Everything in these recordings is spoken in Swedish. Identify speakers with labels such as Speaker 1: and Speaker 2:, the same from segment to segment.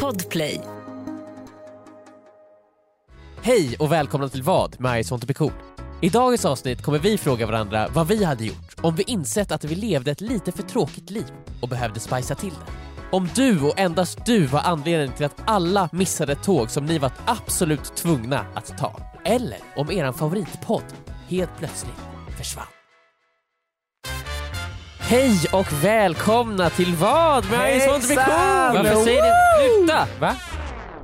Speaker 1: Podplay.
Speaker 2: Hej och välkomna till vad med I sånt är cool. I dagens avsnitt kommer vi fråga varandra vad vi hade gjort om vi insett att vi levde ett lite för tråkigt liv och behövde spicea till det. Om du och endast du var anledningen till att alla missade ett tåg som ni var absolut tvungna att ta. Eller om eran favoritpodd helt plötsligt försvann. Hej och välkomna till vad med I sånt är cool!
Speaker 3: Varför säger ni sluta?
Speaker 2: Va?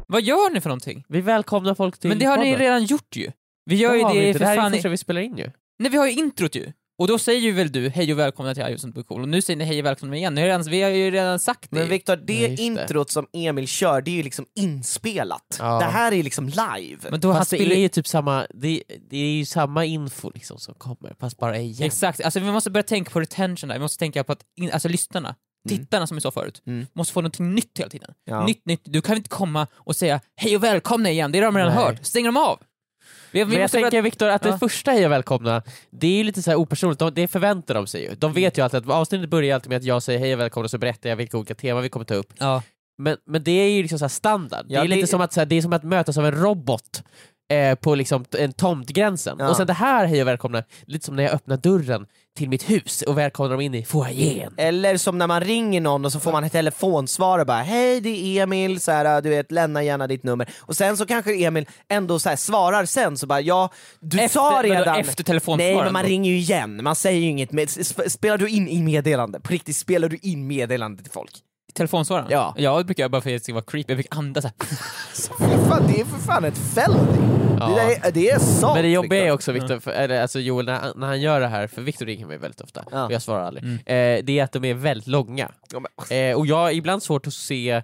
Speaker 3: Vad gör ni för någonting?
Speaker 2: Vi välkomnar folk till
Speaker 3: Men det har ni
Speaker 2: podden.
Speaker 3: redan gjort ju. Vi gör ju
Speaker 2: har vi
Speaker 3: det
Speaker 2: inte.
Speaker 3: för
Speaker 2: här är
Speaker 3: fan
Speaker 2: ju
Speaker 3: i...
Speaker 2: första vi spelar in ju.
Speaker 3: Nej vi har ju introt ju. Och då säger ju väl du hej och välkomna till Ios på cool. Och nu säger ni hej och välkomna igen. Ni har redan, vi har ju redan sagt det.
Speaker 4: Men
Speaker 3: ju.
Speaker 4: Viktor,
Speaker 2: Ja,
Speaker 4: det
Speaker 2: just det.
Speaker 4: introt som Emil kör, det är ju liksom inspelat.
Speaker 2: Ja.
Speaker 4: Det här är liksom live.
Speaker 3: Men då han
Speaker 2: Fast det
Speaker 3: spelar
Speaker 2: är ju typ samma, det, det är ju samma info liksom som kommer, fast bara igen.
Speaker 3: Exakt, alltså vi måste börja tänka på retention där. Vi måste tänka på att in, alltså,
Speaker 2: Mm.
Speaker 3: lyssnarna, tittarna som vi sa förut,
Speaker 4: Mm.
Speaker 3: måste få någonting nytt hela tiden.
Speaker 4: Ja.
Speaker 3: Nytt, nytt. Du kan inte komma och säga hej och välkomna igen, det har de redan
Speaker 2: Nej.
Speaker 3: hört. Stänger de av? Vi, vi
Speaker 2: Men jag
Speaker 3: måste börja-
Speaker 2: tänker Viktor, att det
Speaker 3: Ja.
Speaker 2: första hej och välkomna, det är ju lite så här opersonligt, de, det förväntar de sig ju. De vet ju alltid att avsnittet börjar alltid med att jag säger hej och välkomna och så berättar jag vilka olika teman vi kommer ta upp.
Speaker 3: ja.
Speaker 2: Men, men det är ju liksom så här standard,
Speaker 4: Ja,
Speaker 2: det är lite
Speaker 4: det-
Speaker 2: som att, så här, det är som att mötas av en robot eh, på liksom t- en tomtgränsen.
Speaker 4: Ja.
Speaker 2: Och sen det här hej och välkomna, lite som när jag öppnar dörren till mitt hus och välkomnar dem in i foajén.
Speaker 4: Eller som när man ringer någon och så får man ett telefonsvar och bara hej det är Emil, så här, du vet, lämna gärna ditt nummer. Och sen så kanske Emil ändå så här, svarar sen så bara ja, du sa
Speaker 3: Efter- men då
Speaker 4: redan.
Speaker 3: efter telefonsvaren
Speaker 4: Nej men man
Speaker 3: då?
Speaker 4: ringer ju igen, man säger ju inget. Men sp- spelar du in i meddelande? På riktigt, spelar du in meddelande till folk?
Speaker 3: Telefonsvararen?
Speaker 4: Ja.
Speaker 3: ja, det brukar jag bara för att det ska vara creepy. Jag brukar andas såhär.
Speaker 4: Fan, det är för fan ett felony.
Speaker 2: Ja.
Speaker 4: Det, är, det är sånt
Speaker 2: Men det jobbiga är
Speaker 4: Viktor.
Speaker 2: också Victor, för, eller, alltså Joel, när, han- när han gör det här, för Victor ringer mig väldigt ofta
Speaker 4: Ja.
Speaker 2: och jag svarar aldrig,
Speaker 3: Mm.
Speaker 2: eh, det är att de är väldigt långa.
Speaker 4: Ja, men-
Speaker 2: Eh, och jag har ibland svårt att se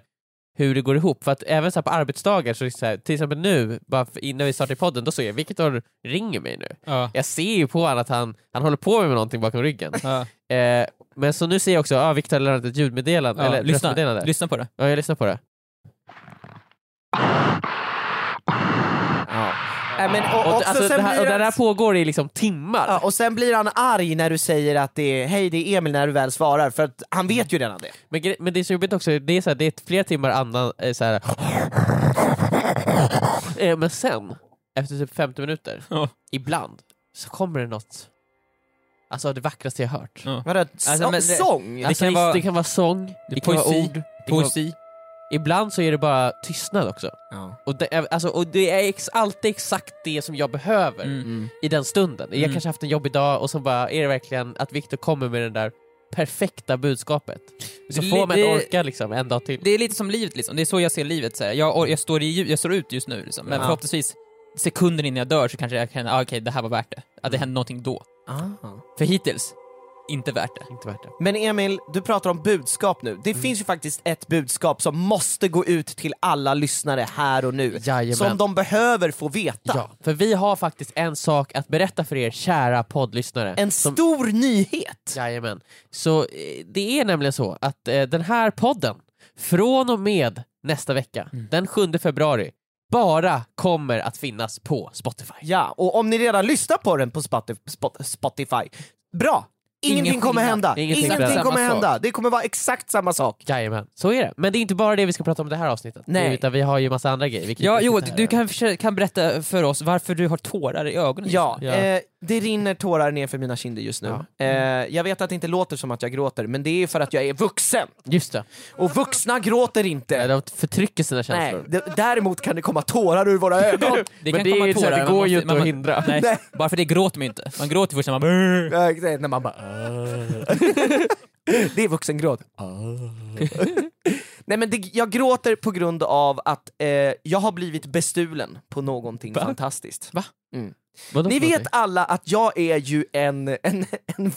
Speaker 2: hur det går ihop, för att även så här på arbetsdagar, så är det så här, till exempel nu, bara för, innan vi startade podden, då såg jag Victor ringer mig nu.
Speaker 3: Ja.
Speaker 2: Jag ser ju på honom att han, han håller på med någonting bakom ryggen.
Speaker 3: Ja.
Speaker 2: Eh, men så nu ser jag också, ja ah, Victor har lämnat ett ljudmeddelande, eller
Speaker 3: Ja.
Speaker 2: ett
Speaker 3: Lyssna.
Speaker 2: röstmeddelande.
Speaker 3: Lyssna på det.
Speaker 2: Ja, jag lyssnar på det.
Speaker 4: Nej, men, och,
Speaker 2: Och,
Speaker 4: också
Speaker 2: alltså,
Speaker 4: sen
Speaker 2: det här,
Speaker 4: blir
Speaker 2: och det
Speaker 4: det-
Speaker 2: där pågår i liksom timmar.
Speaker 4: Ja, och sen blir han arg när du säger att det är hej det är Emil när du väl svarar, för att han vet ju redan det.
Speaker 2: Men, gre- men det är så jobbigt också, det är, så här, det är flera timmar annan, eh, så här. Eh, men sen, efter typ 50 minuter,
Speaker 3: Ja.
Speaker 2: ibland, så kommer det något, alltså det vackraste jag hört.
Speaker 3: Ja.
Speaker 4: Vadå, så-
Speaker 3: Alltså, men det-
Speaker 4: sång?
Speaker 2: Det,
Speaker 3: Alltså,
Speaker 2: kan
Speaker 3: det
Speaker 2: vara,
Speaker 3: var-
Speaker 2: det kan vara sång, det kan vara
Speaker 3: poesi,
Speaker 2: ord, det kan vara,
Speaker 3: Poesi.
Speaker 2: ibland så är det bara tystnad också. Och det är, alltså, och det är ex, alltid exakt det som jag behöver
Speaker 3: Mm.
Speaker 2: i den stunden. Jag
Speaker 3: Mm.
Speaker 2: kanske haft en jobbig dag och så bara är det verkligen att Viktor kommer med det där perfekta budskapet. Så
Speaker 3: Det-
Speaker 2: får mig att
Speaker 3: det-
Speaker 2: orka liksom en dag till.
Speaker 3: Det är lite som livet liksom. Det är så jag ser livet. Så här. Jag, or- jag, står i, ju- jag står ut just nu liksom. Men
Speaker 4: Ja.
Speaker 3: förhoppningsvis sekunden innan jag dör så kanske jag känner ah, okej det här var värt det. Att
Speaker 4: Mm.
Speaker 3: det hände någonting då. För hittills, inte värt det.
Speaker 2: Inte värt det.
Speaker 4: Men Emil, du pratar om budskap nu. Det finns ju faktiskt ett budskap som måste gå ut till alla lyssnare här och nu.
Speaker 2: Jajamän.
Speaker 4: Som de behöver få veta.
Speaker 2: Ja, för vi har faktiskt en sak att berätta för er kära poddlyssnare.
Speaker 4: En
Speaker 2: som-
Speaker 4: stor nyhet!
Speaker 2: Jajamän. Så eh, det är nämligen så att eh, den här podden, från och med nästa vecka, den 7 februari, bara kommer att finnas på Spotify.
Speaker 4: Ja, och om ni redan lyssnar på den på Spotif- Spot- Spotify, bra! Ingenting
Speaker 3: Ingen
Speaker 4: kommer
Speaker 3: skillnad.
Speaker 4: hända.
Speaker 2: Ingenting
Speaker 4: Ingenting,
Speaker 2: förändras.
Speaker 4: kommer
Speaker 3: Samma sak.
Speaker 4: hända. Det kommer vara exakt samma sak.
Speaker 2: Jajamän, så är det. Men det är inte bara det vi ska prata om i det här avsnittet,
Speaker 4: Nej.
Speaker 2: utan vi har ju massa andra grejer. vilket
Speaker 3: Ja
Speaker 2: vi
Speaker 3: Joel,
Speaker 2: sitter här
Speaker 3: du
Speaker 2: med.
Speaker 3: kan, försöka- kan berätta för oss varför du har tårar i ögonen.
Speaker 4: Ja,
Speaker 2: Ja.
Speaker 4: Eh, det rinner tårar ner för mina kinder just nu. Eh, jag vet att det inte låter som att jag gråter, men det är för att jag är vuxen.
Speaker 2: Just det,
Speaker 4: Och vuxna gråter inte.
Speaker 2: de förtrycker sina
Speaker 4: Nej,
Speaker 2: känslor.
Speaker 4: d- däremot kan det komma tårar ur våra ögon.
Speaker 3: Det
Speaker 2: Men
Speaker 3: kan
Speaker 2: det är
Speaker 3: komma
Speaker 2: ju så här,
Speaker 3: tårar.
Speaker 2: det
Speaker 3: man
Speaker 2: går ju
Speaker 3: måste-
Speaker 2: inte
Speaker 3: man-
Speaker 2: att hindra.
Speaker 3: Nej,
Speaker 4: Nej.
Speaker 3: bara för det gråter man ju inte. Man gråter först när man bara...
Speaker 4: Eh, exakt, När man bara... Det är vuxengråt. Nej men det, jag gråter på grund av att eh, jag har blivit bestulen på någonting fantastiskt.
Speaker 2: Vadå
Speaker 4: Ni
Speaker 2: för
Speaker 4: vet
Speaker 2: någonting?
Speaker 4: alla att jag är ju en, en, en, en,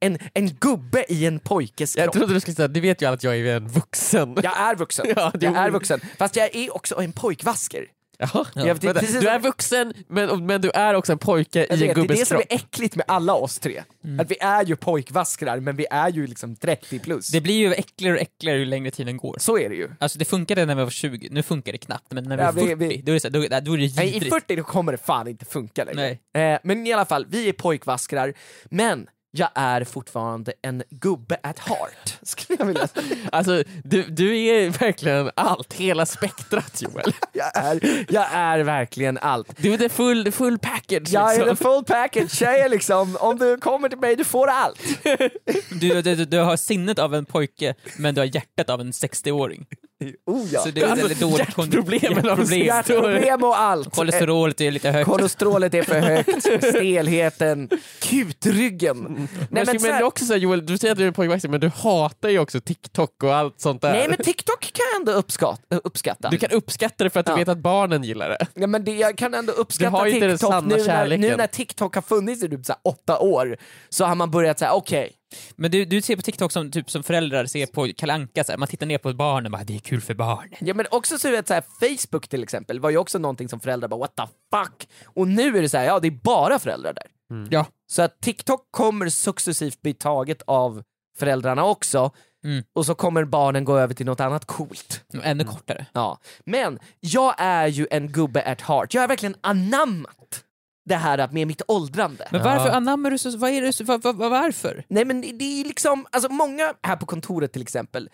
Speaker 4: en, en gubbe i en pojkes
Speaker 2: Jag
Speaker 4: kropp.
Speaker 2: trodde du skulle säga, ni vet ju alla att jag är en vuxen.
Speaker 4: Jag är vuxen.
Speaker 2: Ja, det
Speaker 4: jag
Speaker 2: är
Speaker 4: är
Speaker 2: ord.
Speaker 4: vuxen. Fast jag är också en pojkvasker.
Speaker 2: Ja.
Speaker 4: Jag vet-
Speaker 2: Vänta,
Speaker 4: precis
Speaker 2: du
Speaker 4: som-
Speaker 2: är vuxen, men, men du är också en pojke
Speaker 4: Jag
Speaker 2: i en
Speaker 4: Alltså, vet, det är det
Speaker 2: gubbes
Speaker 4: som
Speaker 2: kropp.
Speaker 4: är äckligt med alla oss tre. Att vi är ju pojkvaskrar men vi är ju liksom 30 plus.
Speaker 3: Det blir ju äckligare och äckligare ju längre tiden går.
Speaker 4: Så är det ju.
Speaker 3: Alltså det funkade när vi var 20, nu funkar det knappt, men när vi
Speaker 4: Ja,
Speaker 3: är
Speaker 4: vi-
Speaker 3: 40,
Speaker 4: vi-
Speaker 3: då är det, så här, då, då är det
Speaker 4: Nej, I
Speaker 3: vidrigt.
Speaker 4: 40 då kommer det fan inte funka längre.
Speaker 3: Nej.
Speaker 4: Eh, men i alla fall, vi är pojkvaskrar. Men jag är fortfarande en gubbe at heart, skulle jag vilja säga.
Speaker 2: Alltså, du, du är verkligen allt, hela spektrat Joel.
Speaker 4: Jag är, jag är verkligen allt.
Speaker 2: Du är the full, the full package
Speaker 4: Jag är
Speaker 2: liksom.
Speaker 4: the full package, tjejer liksom. Om du kommer till mig, du får allt.
Speaker 3: Du, du, du, du har sinnet av en pojke, men du har hjärtat av en 60-åring.
Speaker 4: Oh ja.
Speaker 3: Så det är väldigt dåligt kon-
Speaker 2: Alltså, hjärtproblemen av
Speaker 3: hjärtproblem.
Speaker 4: Hjärtproblem och allt. Eh,
Speaker 3: Kolesterolet är lite högt.
Speaker 4: Kolesterolet är för högt, stelheten,
Speaker 2: Mm.
Speaker 4: kutryggen. Nej
Speaker 2: men,
Speaker 4: men,
Speaker 2: men,
Speaker 4: så här,
Speaker 2: också så här, Joel, du säger att du är pojkvaxig men du hatar ju också TikTok och allt sånt där.
Speaker 4: nej, men TikTok kan jag ändå uppskatta. uppskatta.
Speaker 2: Du kan uppskatta det för att du
Speaker 4: Ja.
Speaker 2: vet att barnen gillar det.
Speaker 4: Ja, men det, jag kan ändå uppskatta
Speaker 2: Du har ju inte den
Speaker 4: TikTok.
Speaker 2: sanna
Speaker 4: nu, när,
Speaker 2: kärleken.
Speaker 4: nu när TikTok har funnits i typ så här åtta år så har man börjat säga okej,
Speaker 3: Men du, du ser på TikTok som, typ, som föräldrar ser på Kalle Anka, så här. man tittar ner på barnen och bara “det är kul för barnen”.
Speaker 4: Ja men också så, du vet, så här, Facebook till exempel var ju också någonting som föräldrar bara what the fuck. Och nu är det så här, ja det är bara föräldrar där.
Speaker 2: Mm.
Speaker 3: Ja.
Speaker 4: Så att TikTok kommer successivt bli taget av föräldrarna också.
Speaker 3: Mm.
Speaker 4: Och så kommer barnen gå över till något annat coolt.
Speaker 3: Ännu
Speaker 2: Mm.
Speaker 3: kortare.
Speaker 4: Ja. Men jag är ju en gubbe at heart, jag har verkligen anammat det här med mitt åldrande.
Speaker 3: Men varför anammar du så, vad är det, så- vad, vad, vad- varför?
Speaker 4: Nej men det- det är ju liksom, alltså många här på kontoret till exempel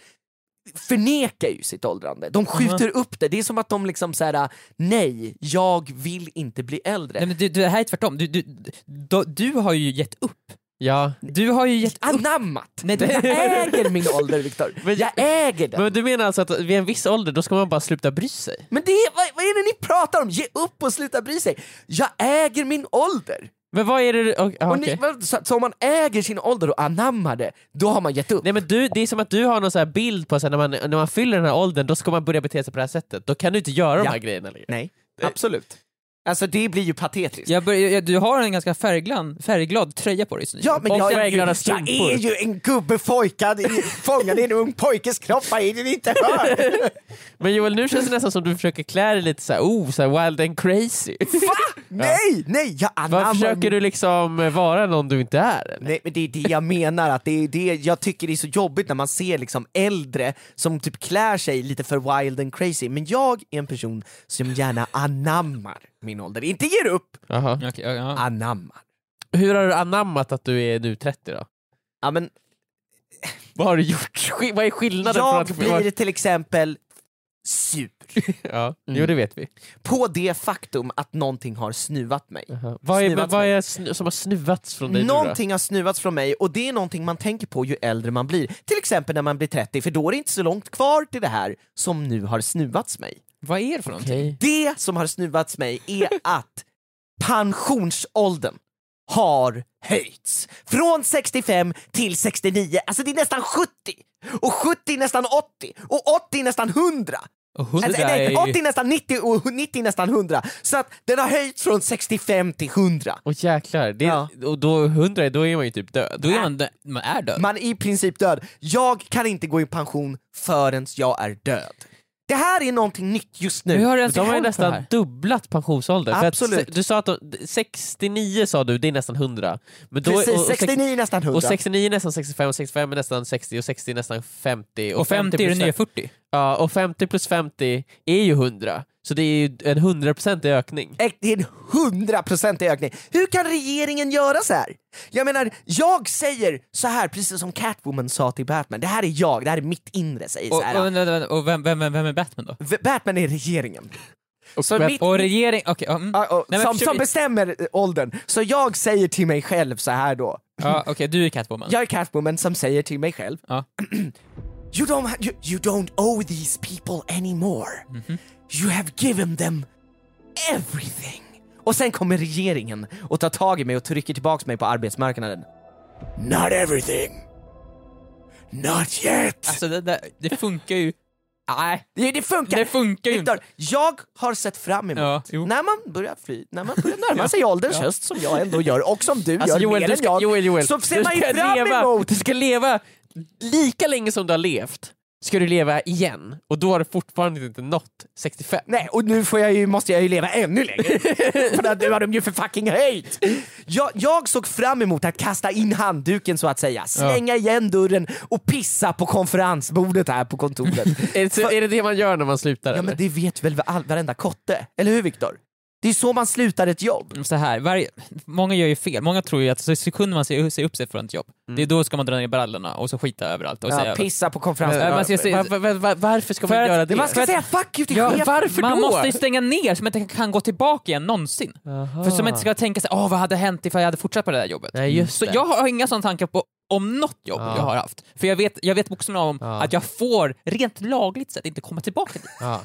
Speaker 4: förnekar ju sitt åldrande. De skjuter upp det. Det är som att de liksom såhär, nej, jag vill inte bli äldre.
Speaker 3: Nej men du, du, det här är tvärtom, du, du, du, du har ju gett upp.
Speaker 2: Ja.
Speaker 3: Du har ju gett upp.
Speaker 4: Anammat!
Speaker 3: Nej, det-
Speaker 4: Jag äger min ålder Viktor. Jag äger den.
Speaker 2: Men du menar alltså att vid en viss ålder då ska man bara sluta bry sig?
Speaker 4: Men det är, vad, vad är det ni pratar om? Ge upp och sluta bry sig. Jag äger min ålder!
Speaker 2: Men vad är det du... och- ja,
Speaker 4: Och ni,
Speaker 2: okej.
Speaker 4: vad- så, så om man äger sin ålder och anammar det, då har man gett upp.
Speaker 2: Nej men du, det är som att du har någon så här bild på så här, när, man, när man fyller den här åldern då ska man börja bete sig på det här sättet. Då kan du inte göra de
Speaker 4: Ja.
Speaker 2: här grejerna längre.
Speaker 4: Nej, absolut. Alltså det blir ju patetiskt.
Speaker 3: Jag börjar- jag, du har en ganska färgglad, färgglad tröja på dig just nu.
Speaker 4: Ja, men
Speaker 2: Och
Speaker 4: jag, är ju,
Speaker 2: färgglada
Speaker 4: jag
Speaker 2: strumpor.
Speaker 4: är ju en gubbe fojkad, i- fångad i en ung pojkes kropp, vad är det ni inte hör?
Speaker 2: Men Joel, nu känns det nästan som du försöker klä dig lite så här, oh, så här wild and crazy.
Speaker 4: Va? Nej, nej, jag
Speaker 2: Vad
Speaker 4: anammar...
Speaker 2: försöker du liksom eh, vara någon du inte är? eller?
Speaker 4: Nej men det är det jag menar, att det är det jag tycker det är så jobbigt när man ser liksom äldre som typ klär sig lite för wild and crazy, men jag är en person som gärna anammar min ålder, inte ger upp,
Speaker 2: Jaha.
Speaker 3: Okej, ja, ja.
Speaker 4: anammar.
Speaker 2: Hur har du anammat att du är nu 30 då?
Speaker 4: Ja, men
Speaker 2: Vad har du gjort? Sk- Vad är skillnaden?
Speaker 4: jag
Speaker 2: från att...
Speaker 4: blir till exempel sur
Speaker 2: Ja. Jo, det vet vi.
Speaker 4: på det faktum att någonting har snuvat mig.
Speaker 2: Jaha. Vad är,
Speaker 4: Snuvats
Speaker 2: vad är snu- som har snuvats från dig nu
Speaker 4: Någonting har snuvats från mig och det är någonting man tänker på ju äldre man blir. Till exempel när man blir 30, för då är det inte så långt kvar till det här som nu har snuvats mig.
Speaker 3: Vad är det för någonting?
Speaker 2: då? Okej.
Speaker 4: Det som har snuvats mig är att pensionsåldern har höjts. Från 65 till 69, alltså det är nästan 70! Och 70 är nästan 80, och 80 är nästan 100!
Speaker 3: Och hundra
Speaker 4: Alltså, nej,
Speaker 3: är
Speaker 4: 80
Speaker 3: ju...
Speaker 4: är nästan 90 och 90 är nästan 100. Så att den har höjts från 65 till 100.
Speaker 2: Och jäklar, det,
Speaker 4: Ja.
Speaker 2: och då 100 är- då är man ju typ död.
Speaker 3: Då är man, dö- man är död.
Speaker 4: Man är i princip död. Jag kan inte gå i pension förrän jag är död. Det här är någonting nytt just nu.
Speaker 3: Hur har det ens
Speaker 2: de har ju
Speaker 3: hänt det
Speaker 2: nästan
Speaker 3: här?
Speaker 2: dubblat pensionsåldern. För att,
Speaker 4: Absolut.
Speaker 2: se- du sa att de, 69 sa du, det är nästan 100. Men då,
Speaker 4: Precis,
Speaker 2: och, och, sex-
Speaker 4: 69 är nästan 100.
Speaker 2: och 69 är nästan 65, och 65 är nästan 60 och 60 är nästan 50.
Speaker 3: Och 50 är det
Speaker 2: plus
Speaker 3: nya 40.
Speaker 2: Ja, och 50 plus 50 är ju 100. Så det är ju en 100-procentig ökning.
Speaker 4: Ett- Det är en hundraprocentig ökning. Hur kan regeringen göra så här? Jag menar, jag säger så här precis som Catwoman sa till Batman. Det här är jag, det här är mitt inre säger
Speaker 3: Och,
Speaker 4: så här.
Speaker 3: och, vänta, vänta, och vem, vem, vem, vem är Batman då?
Speaker 4: V- Batman är regeringen.
Speaker 2: Och
Speaker 4: Så
Speaker 2: Bat-
Speaker 4: mitt-
Speaker 3: Och regering... Okej, ja, mm.
Speaker 4: Ja, Ah, och,
Speaker 3: Nej, men
Speaker 4: som,
Speaker 3: försök-
Speaker 4: som bestämmer eh, åldern. Så jag säger till mig själv så här då.
Speaker 3: ja, okej, du är Catwoman.
Speaker 4: Jag är Catwoman som säger till mig själv.
Speaker 3: Ja.
Speaker 4: You don't, ha- you, you don't owe these people anymore.
Speaker 3: Mhm.
Speaker 4: You have given them everything. Och sen kommer regeringen och tar tag i mig och trycker tillbaks mig på arbetsmarknaden. Not everything. Not yet.
Speaker 3: Alltså det, där, det funkar ju... Nej,
Speaker 4: det, det funkar.
Speaker 3: det funkar ju
Speaker 4: Viktor,
Speaker 3: inte.
Speaker 4: jag har sett fram emot
Speaker 3: Ja, jo.
Speaker 4: när man börjar fly, när man börjar närma sig ålderns höst som jag ändå gör och som du
Speaker 2: Alltså
Speaker 4: gör
Speaker 2: Joel,
Speaker 4: mer
Speaker 2: du
Speaker 4: än
Speaker 2: ska,
Speaker 4: jag.
Speaker 2: Joel, Joel,
Speaker 4: så ser
Speaker 2: du
Speaker 4: man ju
Speaker 2: ska
Speaker 4: fram
Speaker 2: leva,
Speaker 4: emot.
Speaker 2: Du ska leva lika länge som du har levt, ska du leva igen. Och då har du fortfarande inte nått 65.
Speaker 4: Nej, och nu får jag ju, måste jag ju leva ännu längre. för att nu har de ju för fucking höjt. Jag, jag såg fram emot att kasta in handduken så att säga, slänga igen dörren och pissa på konferensbordet här på kontoret.
Speaker 2: Är det, så, är det det man gör när man slutar?
Speaker 4: ja
Speaker 2: eller?
Speaker 4: men det vet väl all, varenda kotte? Eller hur Viktor? Det är så man slutar ett jobb.
Speaker 3: Så här, varje, många gör ju fel. Många tror ju att så sekunder man säger, säger upp sig från ett jobb, det är då ska man dra ner brallorna och så skita överallt. Och säga,
Speaker 4: Ja, pissa på
Speaker 2: äh,
Speaker 3: Ja, man
Speaker 4: konferensen.
Speaker 3: ska se-
Speaker 2: Eh, Va- va- va- va- varför ska
Speaker 3: För
Speaker 2: man
Speaker 3: att-
Speaker 2: göra det?
Speaker 4: Man ska
Speaker 3: för att-
Speaker 4: säga fuck you till
Speaker 3: Ja,
Speaker 4: chefen.
Speaker 2: varför
Speaker 3: man
Speaker 2: då?
Speaker 3: måste ju stänga ner så man inte kan gå tillbaka igen någonsin. För så man inte ska tänka sig, åh vad hade hänt ifall jag hade fortsatt på det där jobbet?
Speaker 2: Nej, just
Speaker 3: så
Speaker 2: det.
Speaker 3: jag har inga sådana tankar på om något jobb
Speaker 2: Ja.
Speaker 3: jag har haft. För jag vet, jag vet bokstavligen om
Speaker 2: Ja.
Speaker 3: att jag får, rent lagligt sett, inte komma tillbaka dit.
Speaker 2: Ja.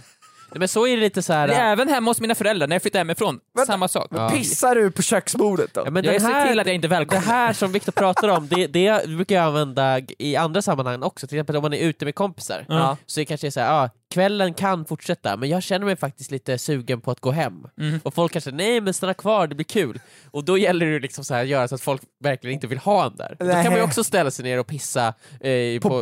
Speaker 2: Nej, men så är det lite så här...
Speaker 3: Det är Även hemma hos mina föräldrar när jag flyttade hemifrån,
Speaker 4: Vänta.
Speaker 3: samma sak.
Speaker 2: Ja.
Speaker 4: Pissar du på köksbordet då?
Speaker 2: Ja, men
Speaker 3: Jag
Speaker 2: den
Speaker 3: ser till
Speaker 2: här,
Speaker 3: att jag inte är
Speaker 2: det
Speaker 3: välkommen.
Speaker 2: här som Viktor pratar om, det, det brukar jag använda g- i andra sammanhang också. Till exempel om man är ute med kompisar.
Speaker 3: Ja.
Speaker 2: Så det kanske är så här, ja, kvällen kan fortsätta men jag känner mig faktiskt lite sugen på att gå hem.
Speaker 3: Mm.
Speaker 2: Och folk kanske nej men stanna kvar, det blir kul. Och då gäller det liksom så här, att göra så att folk verkligen inte vill ha en där. Då
Speaker 4: Nej.
Speaker 2: kan man ju också ställa sig ner och pissa eh,
Speaker 4: på,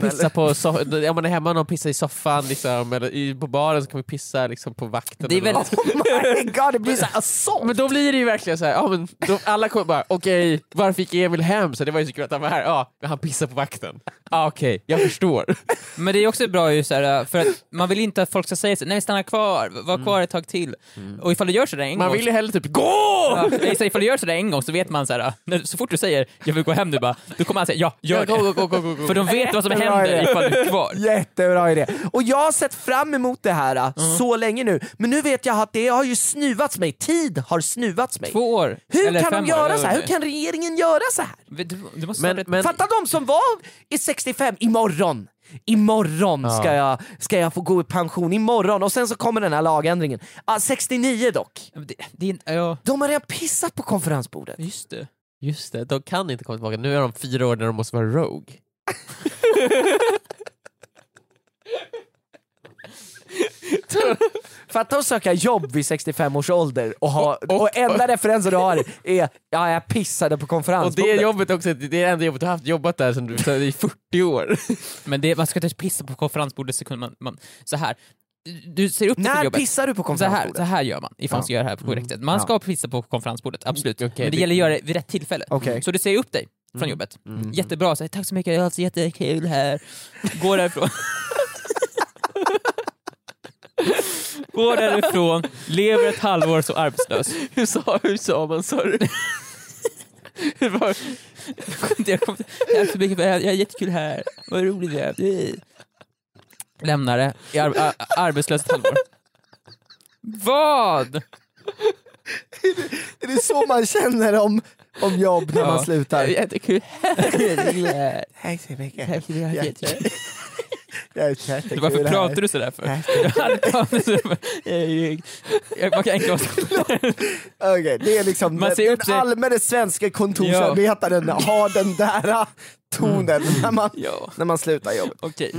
Speaker 2: Pissa på so- om man är hemma någon pissar i soffan liksom, eller i, på baren så kan vi pissa liksom, på vakten.
Speaker 3: Det är
Speaker 2: eller
Speaker 3: väldigt-
Speaker 2: något.
Speaker 4: eller? Oh my god, det blir alltså, såhär assault!
Speaker 2: Men då blir det ju verkligen så här, ja, men då, alla kommer bara okej, varför gick Emil hem? Så det var ju så kul att han var här, ja, men han pissade på vakten.
Speaker 3: Ah,
Speaker 2: Ja okej, jag förstår.
Speaker 3: Men det är också bra ju så här, äh, för att man vill inte att folk ska säga så, nej stanna kvar, var kvar ett tag till. Och ifall du gör sådär en
Speaker 2: Man
Speaker 3: gång
Speaker 2: vill ju hellre typ gå!
Speaker 3: Ja, jag säger, ifall du gör sådär en gång så vet man såhär, när, så fort du säger jag vill gå hem nu bara, då kommer han säga ja, gör
Speaker 2: Gå,
Speaker 3: det.
Speaker 2: gå, gå, gå, gå, gå.
Speaker 3: För de vet vad som
Speaker 4: Jättebra
Speaker 3: händer
Speaker 4: idé.
Speaker 3: ifall du är kvar.
Speaker 4: Jättebra idé! Och jag har sett fram emot det här äh, så länge nu, men nu vet jag att det har ju snuvats mig, tid har snuvats mig.
Speaker 3: Två år.
Speaker 4: Hur
Speaker 3: eller
Speaker 4: kan
Speaker 3: fem
Speaker 4: de göra
Speaker 3: år,
Speaker 4: så här? Hur kan regeringen göra så här?
Speaker 3: Du, du måste
Speaker 2: Men-
Speaker 3: starta ett-
Speaker 2: men-
Speaker 4: Fatta de som var i 65, imorgon! Imorgon ska, jag, ska jag få gå i pension, imorgon! Och sen så kommer den här lagändringen. Ah, 69 dock.
Speaker 3: det, det är, inte- ja,
Speaker 4: De har redan pissat på konferensbordet.
Speaker 3: just det.
Speaker 2: Just det, de kan inte komma tillbaka. Nu är de fyra år när de måste vara rogue.
Speaker 4: Fatta att söka jobb vid 65 års ålder och, ha, och, enda referensen du har är ja, jag pissade på
Speaker 2: Och
Speaker 4: konferensbordet.
Speaker 2: det jobbet också, det är det enda jobbet du har haft, jobbat där sedan du, sedan i 40 år.
Speaker 3: Men det, man ska inte pissa på konferensbordet så kunde man, man så här. Du ser upp till
Speaker 4: När
Speaker 3: jobbet.
Speaker 4: pissar du på
Speaker 3: Så här,
Speaker 4: konferensbordet?
Speaker 3: så här gör man ifall man ska göra det här på korrekt sätt. Man ska pissa på konferensbordet, absolut.
Speaker 2: Mm, okej,
Speaker 3: Men det
Speaker 2: det- Mm.
Speaker 3: gäller att göra det vid rätt tillfälle.
Speaker 4: Okej.
Speaker 3: Så du säger upp dig från jobbet. Jättebra, så här, tack så mycket, det är alltså jättekul här. Går därifrån. Går därifrån, lever ett halvår som arbetslös.
Speaker 2: hur, sa, hur sa man sa du? Det var-
Speaker 3: Jag, kom, tack så mycket, för- jag är jättekul här, vad roligt det är. Lämnar det, är ar- ar- arbetslös ett halvår. Vad?
Speaker 4: Är det så man känner om, om jobb när
Speaker 3: Ja.
Speaker 4: man slutar?
Speaker 3: Jättekul här.
Speaker 4: Tack så mycket.
Speaker 3: Det
Speaker 4: Jag är
Speaker 3: Varför
Speaker 4: jättekul här.
Speaker 3: pratar du sådär för? Jag- Man kan inte
Speaker 4: Okej, det är liksom
Speaker 3: Man
Speaker 4: den,
Speaker 3: ser upp sig-
Speaker 4: den allmänne svenska kontorsarbetaren har den där tonen när, man,
Speaker 3: Mm. Ja,
Speaker 4: när man slutar jobbet.
Speaker 3: okej.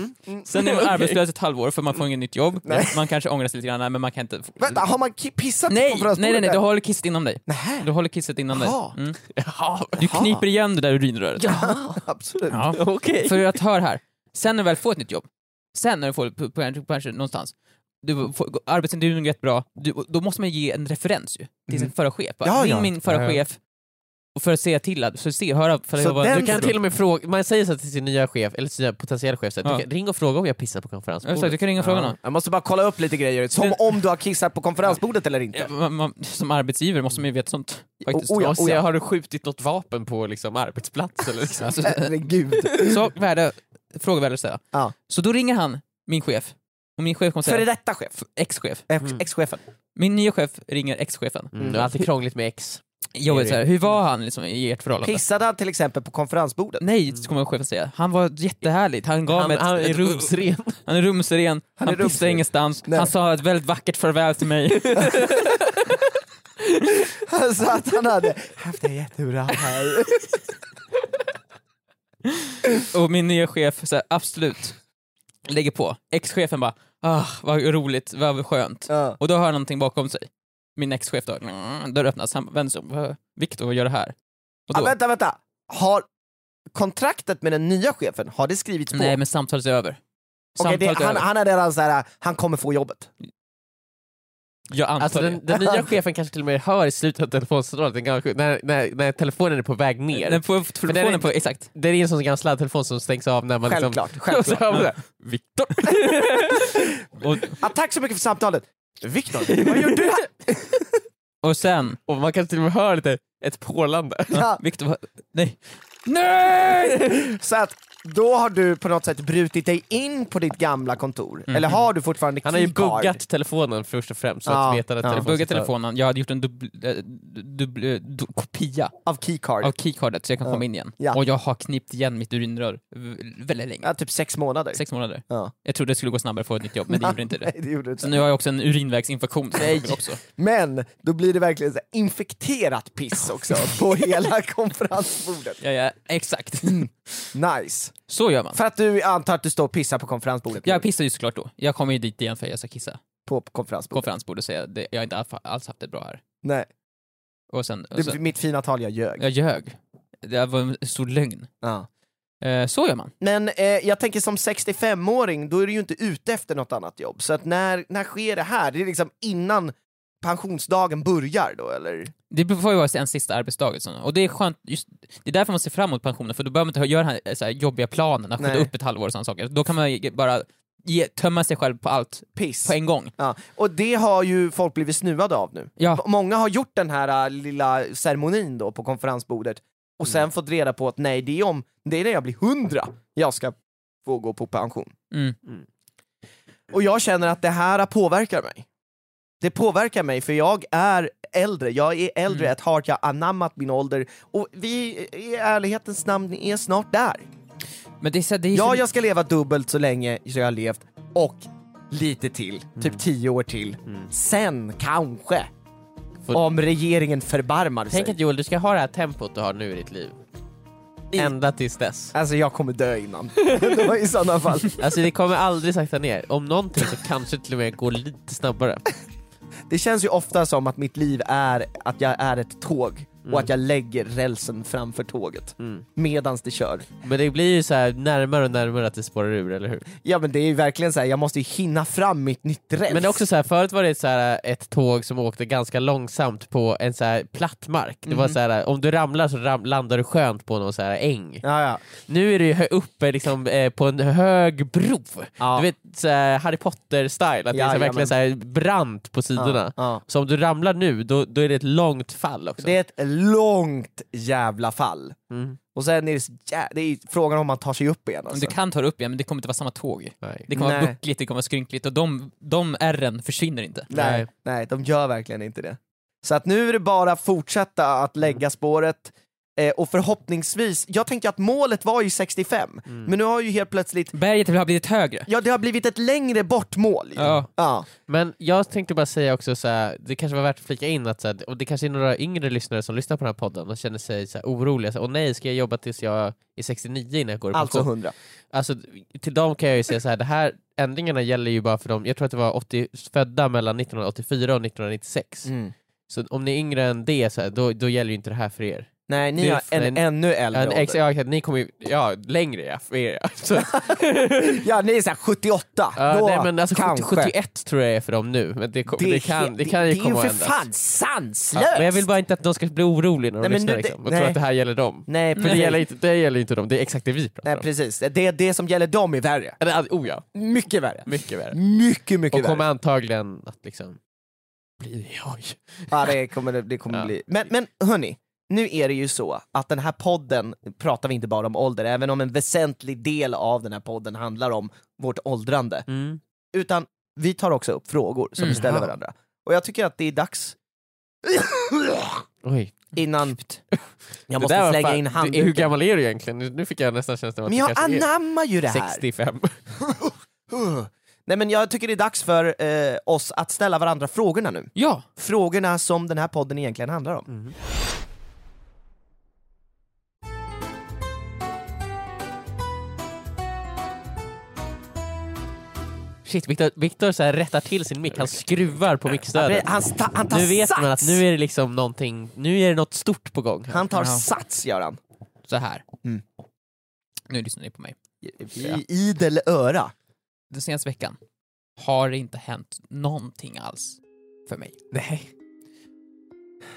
Speaker 3: Sen är man arbetslös ett halvår för man får inget nytt jobb. Man kanske ångrar sig lite grann, men man kan inte...
Speaker 4: Vänta, har man ki- pissat på
Speaker 3: Nej, nej,
Speaker 4: konferensbordet?
Speaker 3: nej, nej, du håller kisset inom dig.
Speaker 4: Nähä.
Speaker 3: Du håller kisset inom dig.
Speaker 4: Jaha.
Speaker 3: Mm.
Speaker 2: Jaha,
Speaker 3: Du kniper igen det där urinröret.
Speaker 4: Ja, absolut.
Speaker 3: Ja.
Speaker 2: okej.
Speaker 3: För att hör här, sen när du väl får ett nytt jobb, sen när du får på, på, på, på någonstans, du får, arbetsintervjun går jättebra, du, då måste man ge en referens ju, till sin förra chef. Bara,
Speaker 4: Mm. Ja,
Speaker 3: Ring
Speaker 4: ja.
Speaker 3: min förra
Speaker 2: Ja, ja.
Speaker 3: chef, och för att se till att, för att se, höra, för att
Speaker 4: Så
Speaker 3: jag var-
Speaker 4: den
Speaker 2: Du kan
Speaker 4: Ändå.
Speaker 2: till och med fråga, man säger så här till sin nya chef, eller sin nya potentiella chef, så här,
Speaker 3: Ja.
Speaker 2: du kan, ring och fråga om jag pissar på
Speaker 3: Ja, exakt,
Speaker 2: konferensbordet.
Speaker 3: du kan ringa och fråga någon.
Speaker 4: Jag måste bara kolla upp lite grejer, som
Speaker 3: Men-
Speaker 4: om du har kissat på konferensbordet eller inte.
Speaker 3: Ja, man, man, som arbetsgivare måste man ju veta sånt. Faktiskt.
Speaker 4: Oh, oh, ja.
Speaker 2: Och se, har du skjutit något vapen på liksom, arbetsplats eller liksom?
Speaker 3: Alltså,
Speaker 4: Herregud.
Speaker 3: så, värde, fråga värde att ställa.
Speaker 4: Ja.
Speaker 3: Så då ringer han min chef, och min chef kommer
Speaker 4: Före
Speaker 3: säga,
Speaker 4: detta chef,
Speaker 3: ex-chef.
Speaker 4: ex- ex-chefen.
Speaker 3: Min nya chef ringer ex-chefen.
Speaker 2: Mm, det är alltid krångligt med ex.
Speaker 3: Jag vet så här, hur var han liksom, i ert förhållande?
Speaker 4: Pissade han till exempel på konferensbordet?
Speaker 3: Nej, kommer chefen säga. Han var jättehärlig. Han gav
Speaker 2: Han,
Speaker 3: mig ett,
Speaker 2: han är
Speaker 3: ett,
Speaker 2: rumsren.
Speaker 3: Han är rumsren, han,
Speaker 4: är
Speaker 3: pissade
Speaker 4: rumsren.
Speaker 3: ingenstans,
Speaker 4: Nej.
Speaker 3: han sa ett väldigt vackert farväl till mig.
Speaker 4: Alltså att han hade haft det jättebra här.
Speaker 3: och min nya chef, så här, absolut, lägger på. Ex-chefen bara, ah, vad roligt, vad skönt.
Speaker 4: Ja.
Speaker 3: Och då hör han någonting bakom sig. Min ex-chef då, mm, dörr öppnas, han vänder sig om, "Vad- Viktor vad gör du här? Och
Speaker 4: Ah,
Speaker 3: då,
Speaker 4: vänta, vänta. Har kontraktet med den nya chefen, har det skrivits på?
Speaker 3: nej men samtalet är över.
Speaker 4: Okej,
Speaker 3: Samtalet
Speaker 4: det,
Speaker 3: är
Speaker 4: han,
Speaker 3: över.
Speaker 4: han är redan såhär, han kommer få jobbet.
Speaker 3: Jag antar
Speaker 2: Alltså,
Speaker 3: det.
Speaker 2: den, den nya chefen kanske till och med hör i slutet av telefonsamtalet, den gamla- när, när, när telefonen är på väg ner.
Speaker 3: Den får
Speaker 2: den är
Speaker 3: telefonen på, exakt.
Speaker 2: det är en sån gammal sladdtelefon som stängs av när man
Speaker 4: Självklart,
Speaker 2: liksom...
Speaker 4: självklart.
Speaker 2: Och så hör man det här, Viktor!
Speaker 3: Och,
Speaker 4: Ah, tack så mycket för samtalet. Viktor, vad gör du här?
Speaker 3: Och sen,
Speaker 2: Och man kan till och med höra lite ett pålande.
Speaker 4: Ja.
Speaker 3: Viktor var... Nej. Nej!
Speaker 4: Så att då har du på något sätt brutit dig in på ditt gamla kontor. Eller har du fortfarande
Speaker 2: Han har ju
Speaker 4: keycard?
Speaker 2: buggat telefonen först och främst. Så
Speaker 4: Ja,
Speaker 2: att veta att
Speaker 4: ja.
Speaker 2: telefonen
Speaker 3: Bugga telefonen, jag hade gjort en dubbl, eh, dubbl, eh, du, kopia
Speaker 4: Av keycard.
Speaker 3: av keycardet så jag kan komma in igen.
Speaker 4: Ja.
Speaker 3: Och jag har knipt igen mitt urinrör v- väldigt länge.
Speaker 4: Ja, typ sex månader.
Speaker 3: Sex månader.
Speaker 4: Ja.
Speaker 3: Jag trodde det skulle gå snabbare att få ett nytt jobb, men det gjorde inte det.
Speaker 4: Nej, det gjorde du
Speaker 3: Så
Speaker 4: inte.
Speaker 3: nu har jag också en urinvägsinfektion. som jag har också.
Speaker 4: Men då blir det verkligen så här infekterat piss också på hela konferensbordet.
Speaker 3: Ja, ja, exakt.
Speaker 4: Mm. Nice.
Speaker 3: Så gör man.
Speaker 4: För att du antar att du står och pissar på konferensbordet? nu.
Speaker 3: Jag pissar ju såklart då. Jag kommer ju dit igen för att jag ska kissa.
Speaker 4: på konferensbordet.
Speaker 3: Konferensbord och säga det, jag har inte alls- alls haft det bra här.
Speaker 4: Nej,
Speaker 3: Och sen, och
Speaker 4: det
Speaker 3: så,
Speaker 4: är mitt fina tal jag ljög.
Speaker 3: jag ljög. Det var en stor lögn.
Speaker 4: Ja.
Speaker 3: Eh, så gör man.
Speaker 4: Men eh, jag tänker som 65-åring, då är du ju inte ute efter något annat jobb. Så att när, när sker det här? Det är liksom innan pensionsdagen börjar då, eller?
Speaker 3: Det får ju vara en sista arbetsdag. och sånt. Och det är skönt, just, det är därför man ser fram emot pensionen, för då behöver man inte göra den här, eh, så här jobbiga planen, att skjuta
Speaker 4: Nej.
Speaker 3: upp ett halvår och sådana saker. Då kan man ju bara ge, tömma sig själv på allt
Speaker 4: Piss.
Speaker 3: på en gång.
Speaker 4: Ja. Och det har ju folk blivit snuvade av nu.
Speaker 3: Ja,
Speaker 4: Typ, Många har gjort den här äh, lilla ceremonin då på konferensbordet och sen
Speaker 3: Mm.
Speaker 4: fått reda på att nej, det är, om, det är när jag blir hundra jag ska få gå på pension.
Speaker 3: Mm.
Speaker 4: Och jag känner att det här påverkar mig. Det påverkar mig för jag är äldre, jag är äldre
Speaker 3: Mm.
Speaker 4: ett heart, jag har anammat min ålder och vi i ärlighetens namn är snart där.
Speaker 3: men det är, så, det är
Speaker 4: Ja,
Speaker 3: så,
Speaker 4: jag ska leva dubbelt så länge som jag har levt och lite till,
Speaker 2: Mm.
Speaker 4: typ tio år till. Sen kanske,
Speaker 2: Får-
Speaker 4: om regeringen förbarmar sig.
Speaker 2: Tänk att Joel, du ska ha det här tempot du har nu i ditt liv. Ända tills dess.
Speaker 4: Alltså jag kommer dö innan. det var i sådana fall.
Speaker 2: Alltså det kommer aldrig sakta ner. Om någonting så kanske till och med går lite snabbare.
Speaker 4: Det känns ju ofta som att mitt liv är att jag är ett tåg och
Speaker 2: Mm.
Speaker 4: att jag lägger rälsen framför tåget medans det kör.
Speaker 2: Men det blir ju så här närmare och närmare att det spårar ur, eller hur?
Speaker 4: Ja men det är ju verkligen så här, jag måste ju hinna fram mitt nytt räls.
Speaker 2: Men det är också så här, förut var det så här, eh, ett tåg som åkte ganska långsamt på en så här platt mark. Det
Speaker 4: Mm.
Speaker 2: var så här, eh, om du ramlar så ram, landar du skönt på någon så här äng.
Speaker 4: Ja, ja.
Speaker 2: Nu är du ju hö- uppe liksom, eh, på en hög bro.
Speaker 4: Ja.
Speaker 2: Du vet så här, Harry Potter-style, att det är så här,
Speaker 4: Jajamän.
Speaker 2: verkligen så här, brant på sidorna.
Speaker 4: ja.
Speaker 2: Så om du ramlar nu, då, då är det ett långt fall också.
Speaker 4: Det är ett långt jävla fall.
Speaker 2: Mm.
Speaker 4: Och sen är det, så jä- det är ju frågan om man tar sig upp igen
Speaker 3: men
Speaker 4: alltså.
Speaker 3: du kan ta det upp igen, men det kommer inte vara samma tåg.
Speaker 2: Nej.
Speaker 3: Det kommer vara
Speaker 4: Nej.
Speaker 3: buckligt, det kommer vara skrynkligt och de, de ärren försvinner inte.
Speaker 4: Nej,
Speaker 2: Nej.
Speaker 4: nej, de gör verkligen inte det. Så att nu är det bara att fortsätta att lägga spåret eh, och förhoppningsvis, jag tänkte att målet var ju 65,
Speaker 2: Mm.
Speaker 4: men nu har ju helt plötsligt,
Speaker 3: Berget har blivit högre.
Speaker 4: ja det har blivit ett längre bort mål. ju.
Speaker 3: Ja.
Speaker 4: Ja.
Speaker 2: Men jag tänkte bara säga också, så här, det kanske var värt att flika in att så här, och det kanske är några yngre lyssnare som lyssnar på den här podden och känner sig så här, oroliga. Så här, Åh nej, ska jag jobba tills jag är 69 innan jag går i
Speaker 4: Alltså
Speaker 2: pension?
Speaker 4: 100.
Speaker 2: Alltså, till dem kan jag ju säga så här, det här ändringarna gäller ju bara för dem, jag tror att det var 80, födda mellan 1984 och 1996.
Speaker 4: Mm.
Speaker 2: Så om ni är yngre än det, så här, då, då gäller ju inte det här för er.
Speaker 4: Nej, ni
Speaker 2: Det är
Speaker 4: har en
Speaker 2: en-
Speaker 4: ännu äldre
Speaker 2: Ja, ex,
Speaker 4: ålder.
Speaker 2: ja, exakt, ni kommer ju, ja, längre ja, för er. ja. Så,
Speaker 4: Ja, ni är såhär 78,
Speaker 2: ja,
Speaker 4: då
Speaker 2: nej, men alltså, 70,
Speaker 4: kanske.
Speaker 2: 71 tror jag är för dem nu, men det, kom, det, kan, det kan ju
Speaker 4: det,
Speaker 2: komma
Speaker 4: Det är
Speaker 2: att
Speaker 4: ju för
Speaker 2: ändras.
Speaker 4: fan sanslöst!
Speaker 2: Ja, men jag vill bara inte att de ska bli oroliga när de
Speaker 4: Nej, men
Speaker 2: lyssnar
Speaker 4: du-
Speaker 2: liksom, och
Speaker 4: nej.
Speaker 2: tror att det här gäller dem.
Speaker 4: Nej,
Speaker 2: För det
Speaker 4: precis.
Speaker 2: gäller, inte, det gäller inte dem, det är exakt det vi pratar
Speaker 4: nej,
Speaker 2: om.
Speaker 4: precis. Det, det som gäller dem är värre.
Speaker 2: Eller, oh ja,
Speaker 4: Mycket värre.
Speaker 2: mycket värre.
Speaker 4: Mycket,
Speaker 2: Och
Speaker 4: mycket värre.
Speaker 2: kommer antagligen att liksom bli oj.
Speaker 4: Ja, det kommer det, det kommer
Speaker 2: Ja.
Speaker 4: bli. Men, men hörni, nu är det ju så att den här podden pratar vi inte bara om ålder, även om en väsentlig del av den här podden handlar om vårt åldrande. Utan vi tar också upp frågor som vi
Speaker 3: Mm.
Speaker 4: ställer
Speaker 2: Ja.
Speaker 4: varandra. Och jag tycker att det är dags
Speaker 2: Oj.
Speaker 4: innan... Jag
Speaker 2: Det där
Speaker 4: måste
Speaker 2: var
Speaker 4: slänga
Speaker 2: fan-
Speaker 4: in
Speaker 2: du- Hur
Speaker 4: handduken.
Speaker 2: gammal är du egentligen? Nu nu fick jag nästan känslan av att
Speaker 4: Men jag
Speaker 2: du kanske
Speaker 4: anammar ju det
Speaker 2: är
Speaker 4: här!
Speaker 2: 65.
Speaker 4: Nej men jag tycker det är dags för eh, oss att ställa varandra frågorna nu.
Speaker 3: Ja,
Speaker 4: Frågorna som den här podden egentligen handlar om.
Speaker 2: Shit, Viktor, Viktor så här rättar till sin mick, han skruvar på mickstödet.
Speaker 4: Han, sta- han tar
Speaker 2: Nu vet
Speaker 4: sats!
Speaker 2: man att nu är det liksom någonting, nu är det något stort på gång. Här.
Speaker 4: Han tar
Speaker 3: Ja.
Speaker 4: sats Göran.
Speaker 3: så här.
Speaker 4: Mm.
Speaker 3: Nu lyssnar ni på mig. Ja.
Speaker 4: I idel öra.
Speaker 3: Den senaste veckan har det inte hänt någonting alls för mig.
Speaker 4: Nej.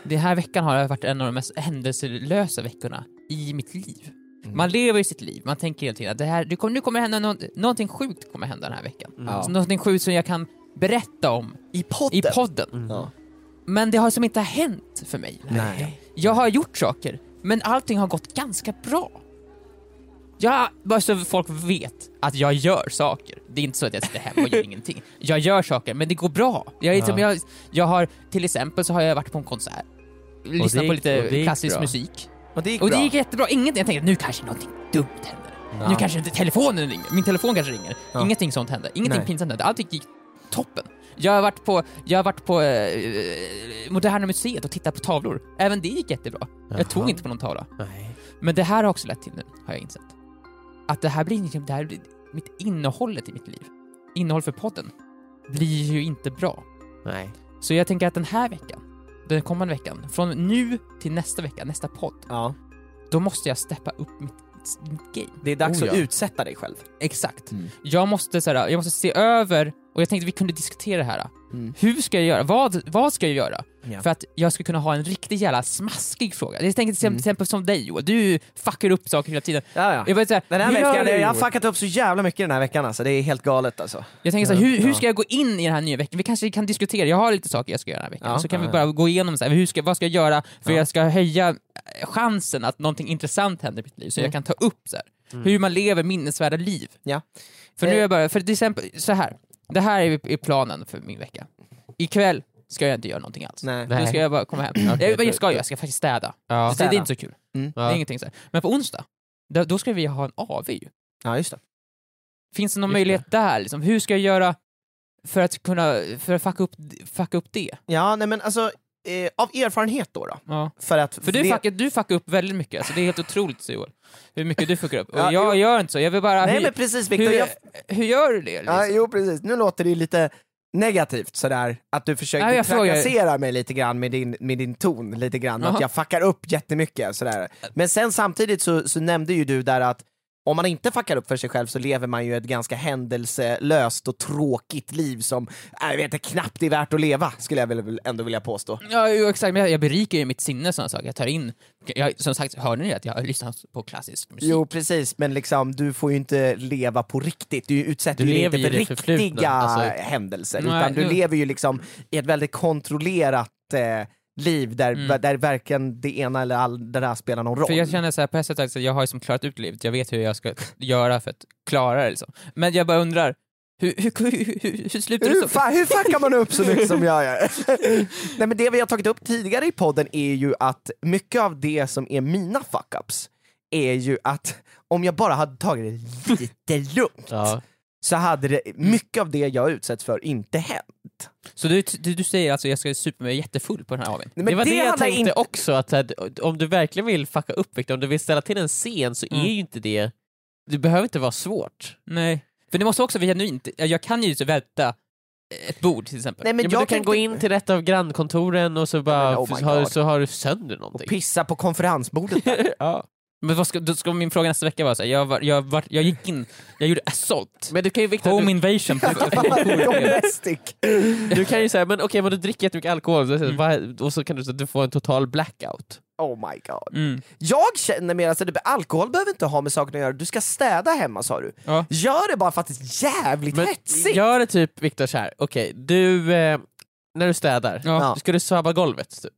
Speaker 3: Den här veckan har varit en av de mest händelselösa veckorna i mitt liv.
Speaker 4: Mm.
Speaker 3: Mm. Man lever i sitt liv, man tänker hela tiden att det här, det kommer, nu kommer det hända nå- någonting sjukt kommer
Speaker 2: Mm.
Speaker 3: hända den här veckan. Alltså,
Speaker 4: Ja.
Speaker 3: Så någonting sjukt som jag kan berätta om
Speaker 4: I podden.
Speaker 2: Mm.
Speaker 3: i podden.
Speaker 4: Ja.
Speaker 3: Men det har som inte hänt för mig.
Speaker 4: Nej.
Speaker 3: Jag har gjort saker, men allting har gått ganska bra. Jag, bara så folk vet att jag gör saker. Det är inte så att jag sitter hemma och gör ingenting. Jag gör saker, men det går bra. Jag, är,
Speaker 2: Ja.
Speaker 3: som jag, jag har, till exempel så har jag varit på en konsert, lyssnat
Speaker 2: det
Speaker 3: på
Speaker 2: gick- och det
Speaker 3: lite
Speaker 2: gick
Speaker 3: klassisk
Speaker 2: bra.
Speaker 3: musik.
Speaker 4: Och det gick
Speaker 3: Och
Speaker 4: bra.
Speaker 3: det gick jättebra. Ingenting, jag tänkte nu kanske någonting dumt händer.
Speaker 2: Ja.
Speaker 3: Nu kanske inte telefonen ringer. Min telefon kanske ringer.
Speaker 4: Ja.
Speaker 3: Ingenting sånt hände. Ingenting
Speaker 4: Nej.
Speaker 3: pinsamt hände. Allting gick toppen. Jag har varit på, jag har varit på eh, Moderna Museet och tittat på tavlor. Även det gick jättebra.
Speaker 2: Jaha.
Speaker 3: Jag tog inte på någon tavla.
Speaker 2: Nej.
Speaker 3: Men det här har också lett till nu, har jag insett. Att det här blir, liksom- det här blir mitt innehållet i mitt liv. Innehåll för podden blir ju inte bra.
Speaker 2: Nej.
Speaker 3: Så jag tänker att den här veckan, den kommande veckan, från nu till nästa vecka, nästa podd,
Speaker 4: Ja.
Speaker 3: då måste jag steppa upp mitt, mitt game.
Speaker 4: Det är dags
Speaker 2: Oh,
Speaker 4: att
Speaker 2: ja.
Speaker 4: utsätta dig själv.
Speaker 3: Exakt.
Speaker 4: Mm.
Speaker 3: Jag, måste, så här, jag måste se över, och jag tänkte vi kunde diskutera det här.
Speaker 4: Mm.
Speaker 3: Hur ska jag göra? Vad, vad ska jag göra?
Speaker 4: Ja.
Speaker 3: För att jag ska kunna ha en riktigt jävla smaskig fråga. Jag tänker till
Speaker 4: Mm.
Speaker 3: exempel som dig Joel, du fuckar upp saker hela tiden.
Speaker 4: Ja, ja.
Speaker 3: Jag, vet, så här,
Speaker 4: Den här
Speaker 3: hur gör
Speaker 4: veckan,
Speaker 3: du,
Speaker 4: jag har
Speaker 3: Joel?
Speaker 4: fuckat upp så jävla mycket den här veckan alltså. Det är helt galet alltså.
Speaker 3: Jag tänker så här, hur, hur
Speaker 4: Ja.
Speaker 3: ska jag gå in i den här nya veckan? Vi kanske kan diskutera, jag har lite saker jag ska göra den här veckan,
Speaker 4: Ja,
Speaker 3: så kan
Speaker 4: ja,
Speaker 3: vi
Speaker 4: ja.
Speaker 3: bara gå igenom så här, hur ska, vad ska jag göra för
Speaker 4: Ja.
Speaker 3: jag ska höja eh, chansen att någonting intressant händer i mitt liv, så
Speaker 4: Mm.
Speaker 3: jag kan ta upp så här, hur man lever minnesvärda liv.
Speaker 4: Ja.
Speaker 3: För nu
Speaker 4: Eh.
Speaker 3: är jag bara, för till exempel, så här. det här är, är planen för min vecka. Ikväll ska jag inte göra någonting alls.
Speaker 4: Nej.
Speaker 3: Då ska jag bara komma hem. jag,
Speaker 2: det-
Speaker 3: jag ska ju, jag ska faktiskt städa.
Speaker 2: Ja.
Speaker 3: Så det, det är inte så kul.
Speaker 4: Mm.
Speaker 3: Det
Speaker 2: Ja.
Speaker 3: är ingenting så här. Men på onsdag, då, då ska vi ha en AV ju.
Speaker 4: Ja, just det.
Speaker 3: Finns det någon
Speaker 2: Just
Speaker 3: möjlighet där? Liksom? Hur ska jag göra för att kunna för att fucka, upp, fucka upp det?
Speaker 4: Ja, nej men alltså, eh, av erfarenhet då. då
Speaker 3: Ja.
Speaker 4: för att...
Speaker 3: För du
Speaker 4: det-
Speaker 3: fuckar, du fuckar upp väldigt mycket, alltså, det är helt otroligt Joel. Hur mycket du fuckar upp. Och
Speaker 4: Ja,
Speaker 3: jag
Speaker 4: jo.
Speaker 3: gör inte så, jag vill bara...
Speaker 4: Nej
Speaker 3: hur,
Speaker 4: men precis Viktor,
Speaker 3: hur,
Speaker 4: jag
Speaker 3: hur gör du det? Liksom?
Speaker 4: Ja, jo precis. Nu låter det lite negativt sådär, att du försöker
Speaker 3: Ja, jag frågar-
Speaker 4: trakassera mig lite grann med din, med din ton, lite grann. Att
Speaker 3: Jaha.
Speaker 4: jag fuckar upp jättemycket sådär. Men sen samtidigt så, så nämnde ju du där att om man inte fuckar upp för sig själv så lever man ju ett ganska händelselöst och tråkigt liv som, äh, jag vet inte, knappt är värt att leva, skulle jag väl ändå vilja påstå.
Speaker 3: Ja, jo, exakt. Men jag, jag berikar ju mitt sinne sådana saker. Jag tar in... Jag, som sagt, hörde ni att jag har lyssnat på klassisk musik?
Speaker 4: Jo precis, men liksom du får ju inte leva på riktigt, du utsätter
Speaker 2: Du
Speaker 4: ju
Speaker 2: lever
Speaker 4: inte för
Speaker 2: ju i det förflutna,
Speaker 4: riktiga
Speaker 2: alltså.
Speaker 4: händelser,
Speaker 3: Nej,
Speaker 4: utan du
Speaker 3: nu-
Speaker 4: lever ju liksom i ett väldigt kontrollerat eh, liv där,
Speaker 3: Mm.
Speaker 4: där verkligen det ena eller all, det där spelar någon roll.
Speaker 3: För jag känner så här, på ett sätt att jag har ju som klarat ut livet, jag vet hur jag ska göra för att klara det liksom. Men jag bara undrar, hur, hur, hur, hur, hur slutar det
Speaker 4: hur,
Speaker 3: så?
Speaker 4: fa- hur fuckar man upp så mycket som jag gör? Nej men det vi har tagit upp tidigare i podden är ju att mycket av det som är mina fuck-ups är ju att om jag bara hade tagit det lite lugnt
Speaker 2: Ja.
Speaker 4: så hade det, mycket av det jag utsätts för inte hänt.
Speaker 3: Så du, du, du säger alltså jag ska supa mig jättefull på den här AWn?
Speaker 4: Nej,
Speaker 2: det var det, jag
Speaker 4: handlar
Speaker 2: tänkte också, att så här, om du verkligen vill fucka upp Victor, om du vill ställa till en scen så är
Speaker 3: Mm.
Speaker 2: ju inte det, det behöver inte vara svårt.
Speaker 3: Nej. För det måste också vara genuint, jag kan ju så välta ett bord till exempel.
Speaker 4: Nej, men
Speaker 2: ja, men
Speaker 4: jag
Speaker 2: du kan
Speaker 4: tänkte-
Speaker 2: gå in till ett av grannkontoren och så, bara,
Speaker 4: men oh my
Speaker 2: så, har,
Speaker 4: God.
Speaker 2: så har du sönder
Speaker 4: och
Speaker 2: någonting.
Speaker 4: pissa på konferensbordet.
Speaker 2: ja.
Speaker 3: Men vad ska, då ska min fråga nästa vecka vara såhär, jag, var, jag, var, jag gick in, jag gjorde assault,
Speaker 2: Men du kan ju Victor,
Speaker 3: home
Speaker 2: du,
Speaker 3: invasion på, på, på,
Speaker 4: Domestic.
Speaker 2: du kan ju säga, men okej men du dricker jättemycket alkohol så,
Speaker 4: Mm.
Speaker 2: så, vad- och så kan du, så, du få en total blackout.
Speaker 4: Oh my god.
Speaker 3: Mm.
Speaker 4: Jag känner mer att alltså, det- alkohol behöver inte ha med saker att göra, du ska städa hemma sa du.
Speaker 3: Ja.
Speaker 4: Gör det bara för att det är jävligt
Speaker 2: Men
Speaker 4: hetsigt!
Speaker 2: gör det typ Victor så här. okej du, eh, när du städar,
Speaker 3: Ja.
Speaker 2: ska du sabba golvet typ?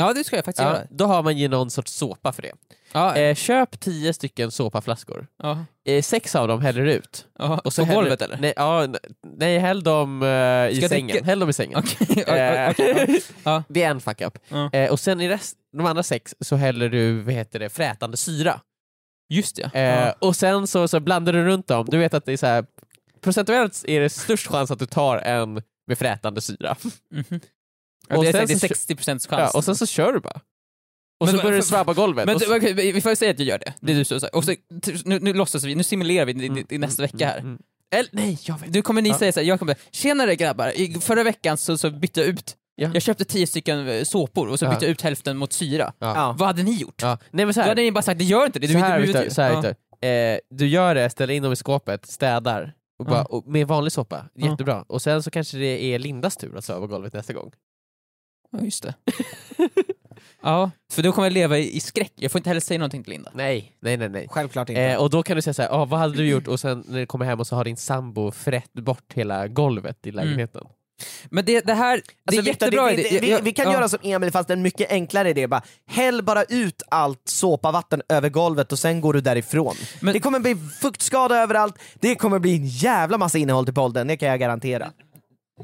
Speaker 3: ja, det ska jag faktiskt
Speaker 2: Ja,
Speaker 3: göra.
Speaker 2: då har man ju någon sorts såpa för det.
Speaker 3: Ja,
Speaker 2: Eh, köp tio stycken såpaflaskor.
Speaker 3: ja,
Speaker 2: Eh, sex av dem häller du ut.
Speaker 3: ja. Och
Speaker 2: så
Speaker 3: så på
Speaker 2: häller-
Speaker 3: golvet eller?
Speaker 2: Nej, ja, n- nej häll dem eh, i
Speaker 3: Ska jag
Speaker 2: sängen.
Speaker 3: dricka?
Speaker 2: Häll dem i sängen.
Speaker 3: Okej,
Speaker 2: Eh,
Speaker 3: okej, ja.
Speaker 2: Det är en fuck-up.
Speaker 3: Ja.
Speaker 2: Eh, och sen i rest, de andra sex så häller du vad heter det, frätande syra.
Speaker 3: Just det.
Speaker 2: Eh,
Speaker 3: ja.
Speaker 2: Och sen så, så blandar du runt dem. Du vet att det är så här, procentuellt är det störst chans att du tar en med frätande syra.
Speaker 3: Mhm.
Speaker 2: Och
Speaker 3: Och det, är,
Speaker 2: sen
Speaker 3: det är
Speaker 2: så-
Speaker 3: 60 chans.
Speaker 2: Ja, och sen så kör du bara. Och
Speaker 3: Men
Speaker 2: så
Speaker 3: va-
Speaker 2: börjar du
Speaker 3: för-
Speaker 2: svabba golvet.
Speaker 3: men
Speaker 2: och
Speaker 3: du,
Speaker 2: så,
Speaker 3: okej, vi- vi får säga att jag gör det. det är du som sa. Och så, nu, nu låtsas vi, nu simulerar vi i, i nästa vecka här.
Speaker 2: Mm, mm.
Speaker 3: Eller nej, jag vet. Du kommer ni
Speaker 2: Ja.
Speaker 3: säga såhär, jag kommer tjenare grabbar, I, förra veckan så, så bytte jag ut,
Speaker 2: Ja.
Speaker 3: jag köpte 10 stycken eh, såpor och så
Speaker 2: Ja.
Speaker 3: bytte jag ut hälften mot syra.
Speaker 2: Ja.
Speaker 4: Ja.
Speaker 3: Vad hade ni gjort?
Speaker 2: Ja. Nej, men så
Speaker 3: Då
Speaker 2: här.
Speaker 3: hade ni bara sagt, det gör inte det, du
Speaker 2: så här,
Speaker 3: du-
Speaker 2: Viktor,
Speaker 3: du-
Speaker 2: så här
Speaker 3: Ja.
Speaker 2: Viktor. Eh, du gör det, ställer in dem i skåpet, städar och bara,
Speaker 3: Ja.
Speaker 2: och med vanlig soppa,
Speaker 3: Ja.
Speaker 2: jättebra. Och sen så kanske det är Lindas tur att söva golvet nästa gång.
Speaker 3: Ja, just det. ja, för då kommer jag leva i, i skräck, jag får inte heller säga någonting till Linda.
Speaker 2: Nej, nej, nej. nej.
Speaker 4: Självklart inte.
Speaker 2: Eh, och då kan du säga såhär, ah, vad hade du gjort? Och sen när du kommer hem och så har din sambo frätt bort hela golvet i lägenheten.
Speaker 3: Men det, det här, Alltså, det är
Speaker 4: Alltså, Viktor,
Speaker 3: jättebra
Speaker 4: vi,
Speaker 3: idé.
Speaker 4: vi, vi,
Speaker 3: Jag-
Speaker 4: vi kan
Speaker 3: ja.
Speaker 4: göra som Emil fast en mycket enklare idé. Bara, häll bara ut allt såpavatten över golvet och sen går du därifrån.
Speaker 3: Men-
Speaker 4: det kommer bli fuktskada överallt, det kommer bli en jävla massa innehåll till podden, det kan jag garantera.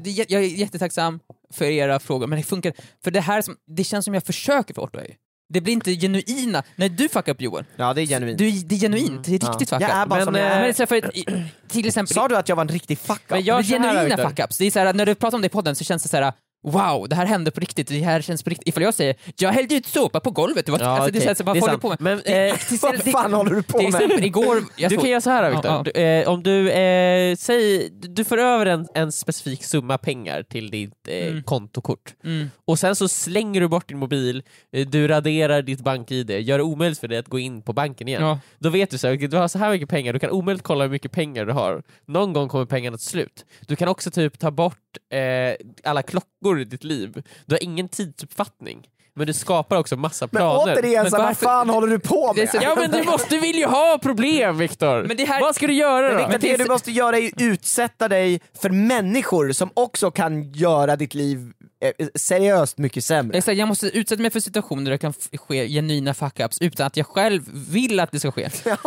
Speaker 3: Det är jä- jag är jättetacksam för era frågor, men det funkar För det här som, det känns som jag försöker flörta ju. Det blir inte genuina. När du fuckar upp Joel,
Speaker 4: Ja det är genuint.
Speaker 3: du, det är genuint, det
Speaker 2: Mm.
Speaker 3: är
Speaker 4: Ja.
Speaker 3: riktigt fuck
Speaker 4: Jag är
Speaker 3: up.
Speaker 4: bara
Speaker 3: men,
Speaker 4: som jag är.
Speaker 3: eh, men det är för att, i- till exempel,
Speaker 4: Sa du att jag var en riktig fuck up?
Speaker 2: Men jag-
Speaker 3: det
Speaker 2: så här,
Speaker 3: genuina
Speaker 2: Viktor.
Speaker 3: fuck-ups, det är så här, när du pratar om det i podden så känns det så här. Wow, det här hände på riktigt, det här känns på riktigt. Ifall jag säger jag hällde ut såpa på golvet, det var,
Speaker 2: Ja,
Speaker 3: alltså, det
Speaker 2: okej.
Speaker 3: känns, vad
Speaker 2: Det är
Speaker 3: håller
Speaker 2: sant.
Speaker 3: du på med?
Speaker 2: Men,
Speaker 3: Det-
Speaker 2: eh,
Speaker 3: till-
Speaker 4: Vad
Speaker 3: till-
Speaker 4: fan håller du på
Speaker 3: Till
Speaker 4: med?
Speaker 3: exempel igår, jag
Speaker 2: Du
Speaker 3: såg-
Speaker 2: kan göra så här
Speaker 3: Ja,
Speaker 2: Viktor.
Speaker 3: ja.
Speaker 2: Du, eh, om du, eh, säg, du för över en, en specifik summa pengar till ditt eh,
Speaker 3: Mm.
Speaker 2: kontokort
Speaker 3: Mm.
Speaker 2: och sen så slänger du bort din mobil, eh, du raderar ditt bank-id, gör det omöjligt för dig att gå in på banken igen.
Speaker 3: Ja.
Speaker 2: Då vet du så här, okej, du har så här mycket pengar, du kan omöjligt kolla hur mycket pengar du har. Någon gång kommer pengarna till slut. Du kan också typ ta bort eh, alla klockor i ditt liv. Du har ingen tidsuppfattning. Men du skapar också massa
Speaker 4: Men
Speaker 2: planer.
Speaker 4: återigen,
Speaker 3: Men
Speaker 4: så här, vad
Speaker 3: varför-
Speaker 4: fan håller du på
Speaker 3: Det är
Speaker 4: med?
Speaker 3: så-
Speaker 2: Ja men du måste, du vill ju ha problem Viktor!
Speaker 3: Men det här-
Speaker 2: Vad ska du göra då?
Speaker 4: Men det, du måste göra är ju utsätta dig för människor som också kan göra ditt liv eh, seriöst mycket sämre.
Speaker 3: Exakt, jag måste utsätta mig för situationer där det kan f- ske genuina fuck-ups utan att jag själv vill att det ska ske.
Speaker 2: Det,
Speaker 3: För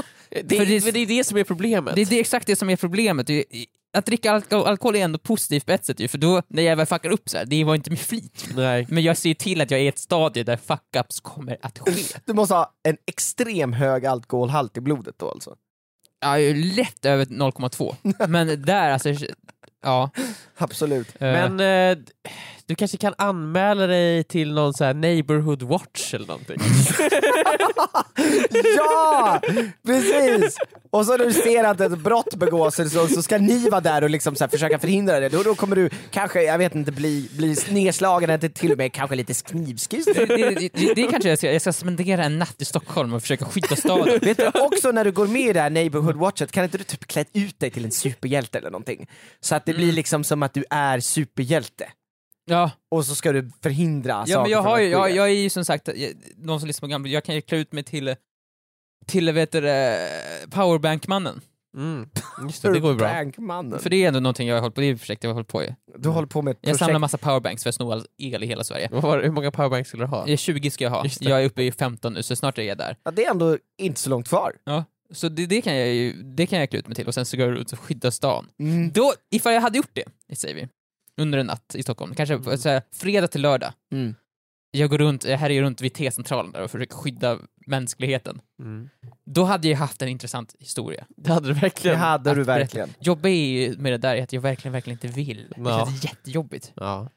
Speaker 2: är-
Speaker 3: det-
Speaker 2: men det är det som är problemet.
Speaker 3: Det, det är exakt det som är problemet. Det är- Att dricka alko alkohol är ändå positivt på ett sätt ju, för då, när jag väl fuckar upp så här, det var inte med flit.
Speaker 2: Nej.
Speaker 3: Men jag ser till att jag är i ett stadie där fuck-ups kommer att ske.
Speaker 4: Du måste ha en extrem hög alkoholhalt i blodet då alltså.
Speaker 3: Jag är ju lätt över 0,2, men där alltså... Ja.
Speaker 4: Absolut.
Speaker 3: eh,
Speaker 2: Men eh, du kanske kan anmäla dig till någon så här neighborhood watch eller någonting?
Speaker 4: Ja! Precis! Och så när du ser att ett brott begås eller så, så ska ni vara där och liksom så här försöka förhindra det. Då, då kommer du kanske, jag vet inte, bli, bli nedslagen eller till och med kanske lite knivskuren.
Speaker 3: det, det, det, det kanske jag ska, jag ska spendera en natt i Stockholm och försöka skydda staden.
Speaker 4: Vet du, också när du går med i det här neighborhood watchet, kan inte du typ klä ut dig till en superhjälte eller någonting? Så att det
Speaker 3: Mm.
Speaker 4: blir liksom som att du är superhjälte.
Speaker 3: Ja.
Speaker 4: Och så ska du förhindra
Speaker 2: Alltså,
Speaker 3: Ja, men jag,
Speaker 4: från
Speaker 3: har ju,
Speaker 4: att
Speaker 3: jag,
Speaker 4: ske.
Speaker 3: jag är ju som sagt, jag, de som lyssnar på gamla, jag kan ju klä ut mig till, till vet du, det, powerbankmannen.
Speaker 2: Mm. Just det, det går ju bra. Mm.
Speaker 4: Bankmannen.
Speaker 3: För det är ändå någonting jag har hållit på, det är ett projekt jag har hållit på i.
Speaker 4: Du håller på med ett
Speaker 3: Jag
Speaker 4: projekt.
Speaker 3: samlar massa powerbanks för att sno all el i hela Sverige.
Speaker 2: Vad var, hur många powerbanks skulle du ha?
Speaker 3: Eh, 20 ska jag ha,
Speaker 2: Just det.
Speaker 3: jag är uppe i 15 nu så snart är jag där.
Speaker 4: Ja, det är ändå inte så långt kvar.
Speaker 3: Så det, det kan jag ju, det kan jag klä ut mig till och sen så går jag ut och skyddar stan.
Speaker 4: Mm.
Speaker 3: Då, ifall jag hade gjort det, det säger vi, under en natt i Stockholm, kanske så här, fredag till lördag,
Speaker 4: Mm.
Speaker 3: jag går runt, jag härjar runt vid T-centralen där och försöker skydda mänskligheten.
Speaker 2: Mm.
Speaker 3: Då hade jag haft en intressant historia.
Speaker 2: Det hade du
Speaker 4: Det
Speaker 2: verkligen.
Speaker 4: hade du
Speaker 3: att berätta.
Speaker 4: verkligen.
Speaker 3: jobbiga är ju med det där är att jag verkligen, verkligen inte vill. Det
Speaker 2: Ja.
Speaker 3: känns jättejobbigt.
Speaker 2: Ja.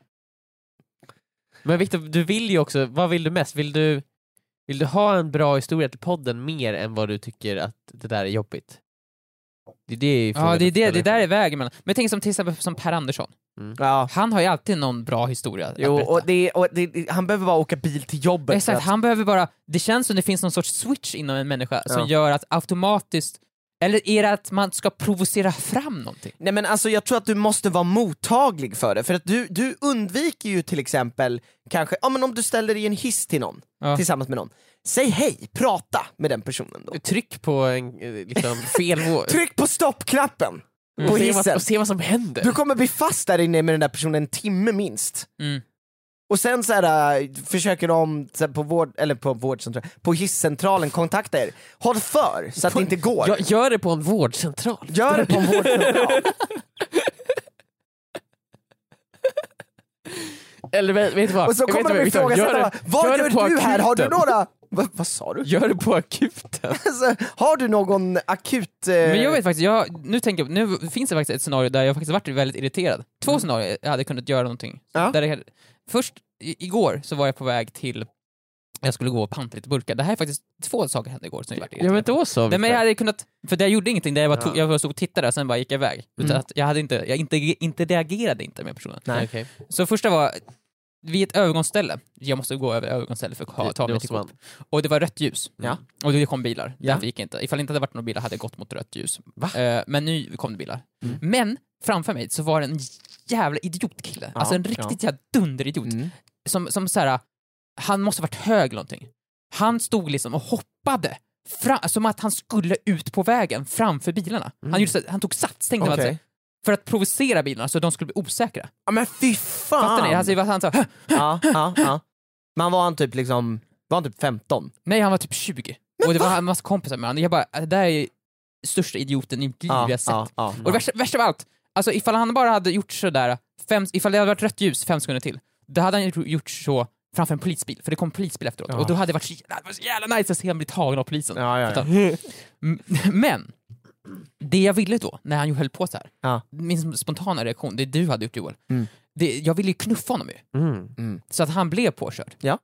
Speaker 2: Men Viktor, du vill ju också, vad vill du mest? Vill du, vill du ha en bra historia till podden mer än vad du tycker att det där är jobbigt? Det är det ju
Speaker 3: Ja,
Speaker 2: frågan
Speaker 3: det, är det,
Speaker 2: ställer
Speaker 3: det där
Speaker 2: sig.
Speaker 3: är vägen mellan. Men tänk som till exempel som Per Andersson.
Speaker 4: Ja.
Speaker 3: Han har ju alltid någon bra historia att
Speaker 4: Jo,
Speaker 3: berätta.
Speaker 4: och det, och det- det, han behöver bara åka bil till jobbet. för
Speaker 3: Exakt,
Speaker 4: att-
Speaker 3: han behöver bara, det känns som det finns någon sorts switch inom en människa som
Speaker 4: Ja.
Speaker 3: gör att automatiskt, eller är det att man ska provocera fram någonting?
Speaker 4: Nej men alltså jag tror att du måste vara mottaglig för det, för att du, du undviker ju till exempel kanske, ja men om du ställer dig i en hiss till någon,
Speaker 3: Ja.
Speaker 4: tillsammans med någon, säg hej, prata med den personen då.
Speaker 2: Tryck på en, eh, liksom, fel våg.
Speaker 4: Tryck på stoppknappen på
Speaker 2: och, se vad,
Speaker 4: hissen.
Speaker 2: och se vad som händer.
Speaker 4: Du kommer bli fast där inne med den där personen en timme minst.
Speaker 3: Mm.
Speaker 4: Och sen så här, äh, försöker de så här, på, vård, eller på, vårdcentral, på hisscentralen kontakta er. Håll för så att det inte går.
Speaker 2: Ja, gör det på en vårdcentral.
Speaker 4: Gör det på en vårdcentral.
Speaker 2: Eller vet, vet du vad?
Speaker 4: Och så
Speaker 2: Jag vet
Speaker 4: kommer de
Speaker 2: inte vad, Viktor,
Speaker 4: ifrågasätta,
Speaker 2: gör det-
Speaker 4: vad
Speaker 2: det
Speaker 4: gör
Speaker 2: på
Speaker 4: du här? Har du
Speaker 2: akuten.
Speaker 4: några... Va, vad sa du?
Speaker 2: Gör det på akuten.
Speaker 4: Alltså, har du någon akut... Eh...
Speaker 3: Men jag vet faktiskt, jag, nu, tänker, jag- nu finns det faktiskt ett scenario där jag faktiskt varit väldigt irriterad. Två
Speaker 2: Mm.
Speaker 3: scenarier jag hade kunnat göra någonting.
Speaker 4: Ja.
Speaker 3: Där jag, först, i, igår så var jag på väg till, jag skulle gå och panta lite burkar. Det här är faktiskt två saker hände igår som jag varit
Speaker 2: Ja
Speaker 3: irriterad
Speaker 2: men då så.
Speaker 3: Nej, men jag hade kunnat, för jag gjorde ingenting, där jag, bara tog,
Speaker 2: Ja.
Speaker 3: jag bara stod och tittade och sen bara gick jag iväg. Utan
Speaker 2: Mm.
Speaker 3: att jag, hade inte, jag inte, inte reagerade inte med personen.
Speaker 2: Nej. Okay.
Speaker 3: Så första var, vid ett övergångsställe, jag måste gå över övergångsställe för att ha, ta mig till Coop. Och det var rött ljus.
Speaker 2: Ja.
Speaker 3: Och det kom bilar.
Speaker 2: Ja.
Speaker 3: Därför gick jag inte. Ifall det inte hade varit några bilar hade jag gått mot rött ljus.
Speaker 2: Va?
Speaker 3: Eh, men nu kom det bilar.
Speaker 2: Mm.
Speaker 3: Men framför mig så var det en jävla idiotkille.
Speaker 4: Ja,
Speaker 3: Alltså en
Speaker 4: ja.
Speaker 3: riktigt jävla dunderidiot
Speaker 4: Mm.
Speaker 3: som, som så här, han måste varit hög eller någonting. Han stod liksom och hoppade, fram, som att han skulle ut på vägen framför bilarna. Han, gjorde så, här- han tog sats, tänkte man
Speaker 4: Mm. Okej.
Speaker 3: sig. För att provocera bilarna så de skulle bli osäkra.
Speaker 4: Ja, men fy fan!
Speaker 3: Fattar ni? Alltså, vad han sa, "Hä?"
Speaker 4: Ja, ja, ja. Men han var han typ liksom, var han typ 15?
Speaker 3: nej han var typ 20. och det var en massa kompisar med honom. Jag bara, det där är största idioten i mitt liv
Speaker 4: Ja,
Speaker 3: jag sett.
Speaker 4: ja, ja,
Speaker 3: Och det värsta, värsta av allt, alltså ifall han bara hade gjort sådär, fem, ifall det hade varit rött ljus fem sekunder till, då hade han gjort- gjort så framför en polisbil, för det kom en polisbil efteråt, och då hade det varit så jävla, det var så jävla nice att se han bli tagen av polisen.
Speaker 4: Ja, ja, ja.
Speaker 3: M- Men, det jag ville då, när han ju höll på så här,
Speaker 4: Ja.
Speaker 3: min spontana reaktion, det du hade gjort Joel,
Speaker 4: Mm.
Speaker 3: det, jag ville ju knuffa honom ju,
Speaker 2: Mm.
Speaker 3: så att han blev påkörd.
Speaker 4: Ja.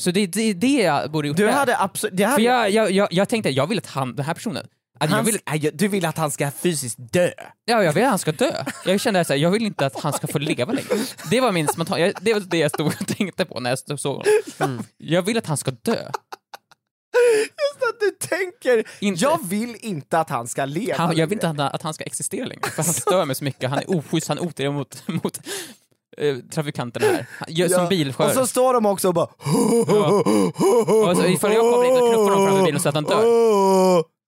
Speaker 3: Så det är det, det jag borde gjort
Speaker 4: Du
Speaker 3: där.
Speaker 4: hade absolut... det
Speaker 3: För
Speaker 4: hade-
Speaker 3: jag, jag, jag, jag tänkte, jag vill att han, den här personen, att jag
Speaker 4: han-
Speaker 3: vill,
Speaker 4: Nej, jag- Du vill att han ska fysiskt dö?
Speaker 3: Ja, jag vill att han ska dö. Jag kände såhär, jag vill inte att han ska få leva längre. Det var min spontana, jag- det var det jag stod och tänkte på när jag stod och såg honom.
Speaker 4: Mm.
Speaker 3: Jag vill att han ska dö.
Speaker 4: Att du tänker,
Speaker 3: Inte.
Speaker 4: jag vill inte att han ska leva
Speaker 3: Han, jag vill inte
Speaker 4: längre.
Speaker 3: att han, att han ska existera längre, för han stör mig så mycket. Han är oschysst, han är otrevlig mot, mot eh, trafikanterna här. Han gör
Speaker 4: Ja.
Speaker 3: som
Speaker 4: Och så
Speaker 3: bilchaufför.
Speaker 4: står de också och bara...
Speaker 3: Och så ifall jag kommer in och knuffar honom framför bilen så att han dör,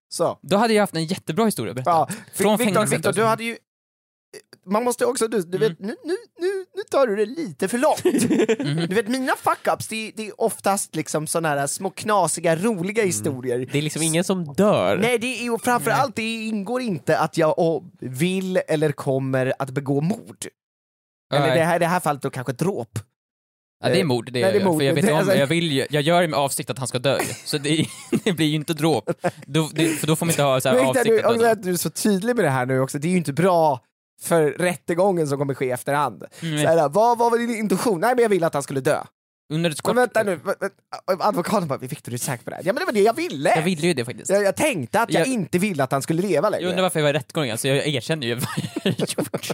Speaker 4: Så.
Speaker 3: då hade jag haft en jättebra historia att berätta.
Speaker 4: Ja.
Speaker 3: Från
Speaker 4: Viktor,
Speaker 3: fängelset. alltså. Mm.
Speaker 4: Viktor, du hade ju... Man måste också, du, du vet, nu, nu, nu, nu tar du det lite för långt.
Speaker 3: Mhm.
Speaker 4: Du vet mina fuck-ups, det, är- det är oftast liksom såna här små knasiga, roliga
Speaker 3: Mm.
Speaker 4: historier.
Speaker 2: Det är liksom ingen som dör.
Speaker 4: Nej, det är, och framförallt det ingår inte att jag åh, vill eller kommer att begå mord. Eller i det här, det här fallet då kanske dråp.
Speaker 3: Ja, det är mord, det,
Speaker 4: Nej, det är
Speaker 3: är
Speaker 4: mord.
Speaker 3: För jag, vet
Speaker 4: Det är
Speaker 3: om,
Speaker 4: alltså-
Speaker 3: jag, vill, ju- jag gör det med avsikt att han ska dö ju. så det, det blir ju inte dråp. Då, det, för då får man inte ha så här
Speaker 4: Viktor,
Speaker 3: avsikt
Speaker 4: du,
Speaker 3: att
Speaker 4: också
Speaker 3: dö.
Speaker 4: att du är så tydlig med det här nu också, det är ju inte bra för rättegången som kommer ske efterhand.
Speaker 3: Mm,
Speaker 4: Så här, vad, vad var din intention? Nej men jag ville att han skulle dö.
Speaker 3: Under ett
Speaker 4: Men
Speaker 3: kort,
Speaker 4: vänta nu, va- va- advokaten bara “Viktor du är säker på det här?” Ja men det var det jag ville!
Speaker 3: Jag ville ju det faktiskt.
Speaker 4: jag, jag tänkte att jag,
Speaker 3: Jag-
Speaker 4: inte ville att han skulle leva längre.
Speaker 3: Jag undrar varför jag var i rättegången, så jag erkänner ju vad jag har gjort.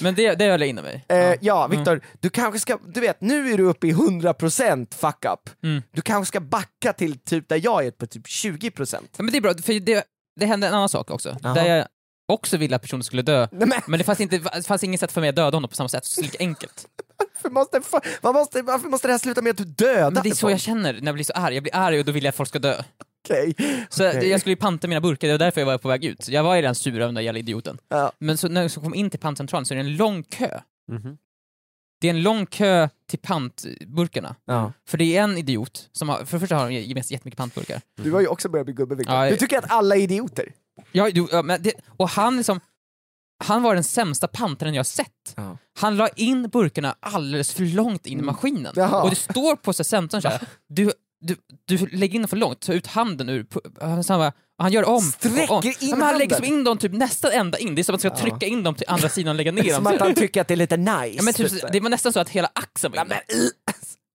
Speaker 3: Men det, det höll jag inom mig.
Speaker 4: Eh,
Speaker 3: Ja. Mm.
Speaker 4: ja, Viktor, du kanske ska, du vet, nu är du uppe i 100% fuck up.
Speaker 3: Mm.
Speaker 4: Du kanske ska backa till typ där jag är på typ 20%.
Speaker 3: Ja, Men det är bra, för det, det hände en annan sak också.
Speaker 4: Jaha.
Speaker 3: Där jag också ville att personen skulle dö,
Speaker 4: Nej men
Speaker 3: men det fanns, inte, det fanns inget sätt för mig att döda honom på samma sätt, så lika enkelt.
Speaker 4: varför måste, fa- vad måste, varför måste det här sluta med att du dödar
Speaker 3: Men det är så jag känner när jag blir så arg. Jag blir arg och då vill jag att folk ska dö.
Speaker 4: Okej.
Speaker 3: Så
Speaker 4: Okej.
Speaker 3: jag skulle ju panta mina burkar, det var därför jag var på väg ut. Jag var ju redan sur av den där jävla idioten.
Speaker 4: Ja.
Speaker 3: Men så när jag kom in till pantcentralen så är det en lång kö. Det är en lång kö till pantburkarna.
Speaker 4: Ja.
Speaker 3: För det är en idiot som har, för det första har de gemensamt jättemycket pantburkar.
Speaker 4: Du har ju också börjat bli gubbe Viktor.
Speaker 3: Ja,
Speaker 4: du
Speaker 3: jag-
Speaker 4: tycker att alla är idioter.
Speaker 3: Ja, du, ja, men det, och han liksom, han var den sämsta pantaren jag sett.
Speaker 4: Ja. Mm.
Speaker 3: Han la in burkarna alldeles för långt in i maskinen.
Speaker 4: Jaha.
Speaker 3: Och det står på sig centern såhär, du, du, du lägger in den för långt, ta ut handen ur... pu- Så han, bara, han gör om.
Speaker 4: Sträcker
Speaker 3: och om.
Speaker 4: in
Speaker 3: Ja, men Han lägger
Speaker 4: handen.
Speaker 3: liksom in dem typ nästan ända in, det är som att man ska trycka in dem till andra sidan och lägga ner
Speaker 4: Som
Speaker 3: dem.
Speaker 4: att han tycker att det är lite nice.
Speaker 3: Ja, men typ,
Speaker 4: så här.
Speaker 3: det var nästan så att hela axeln var
Speaker 4: Ja,
Speaker 3: inne.
Speaker 4: men, uh. i-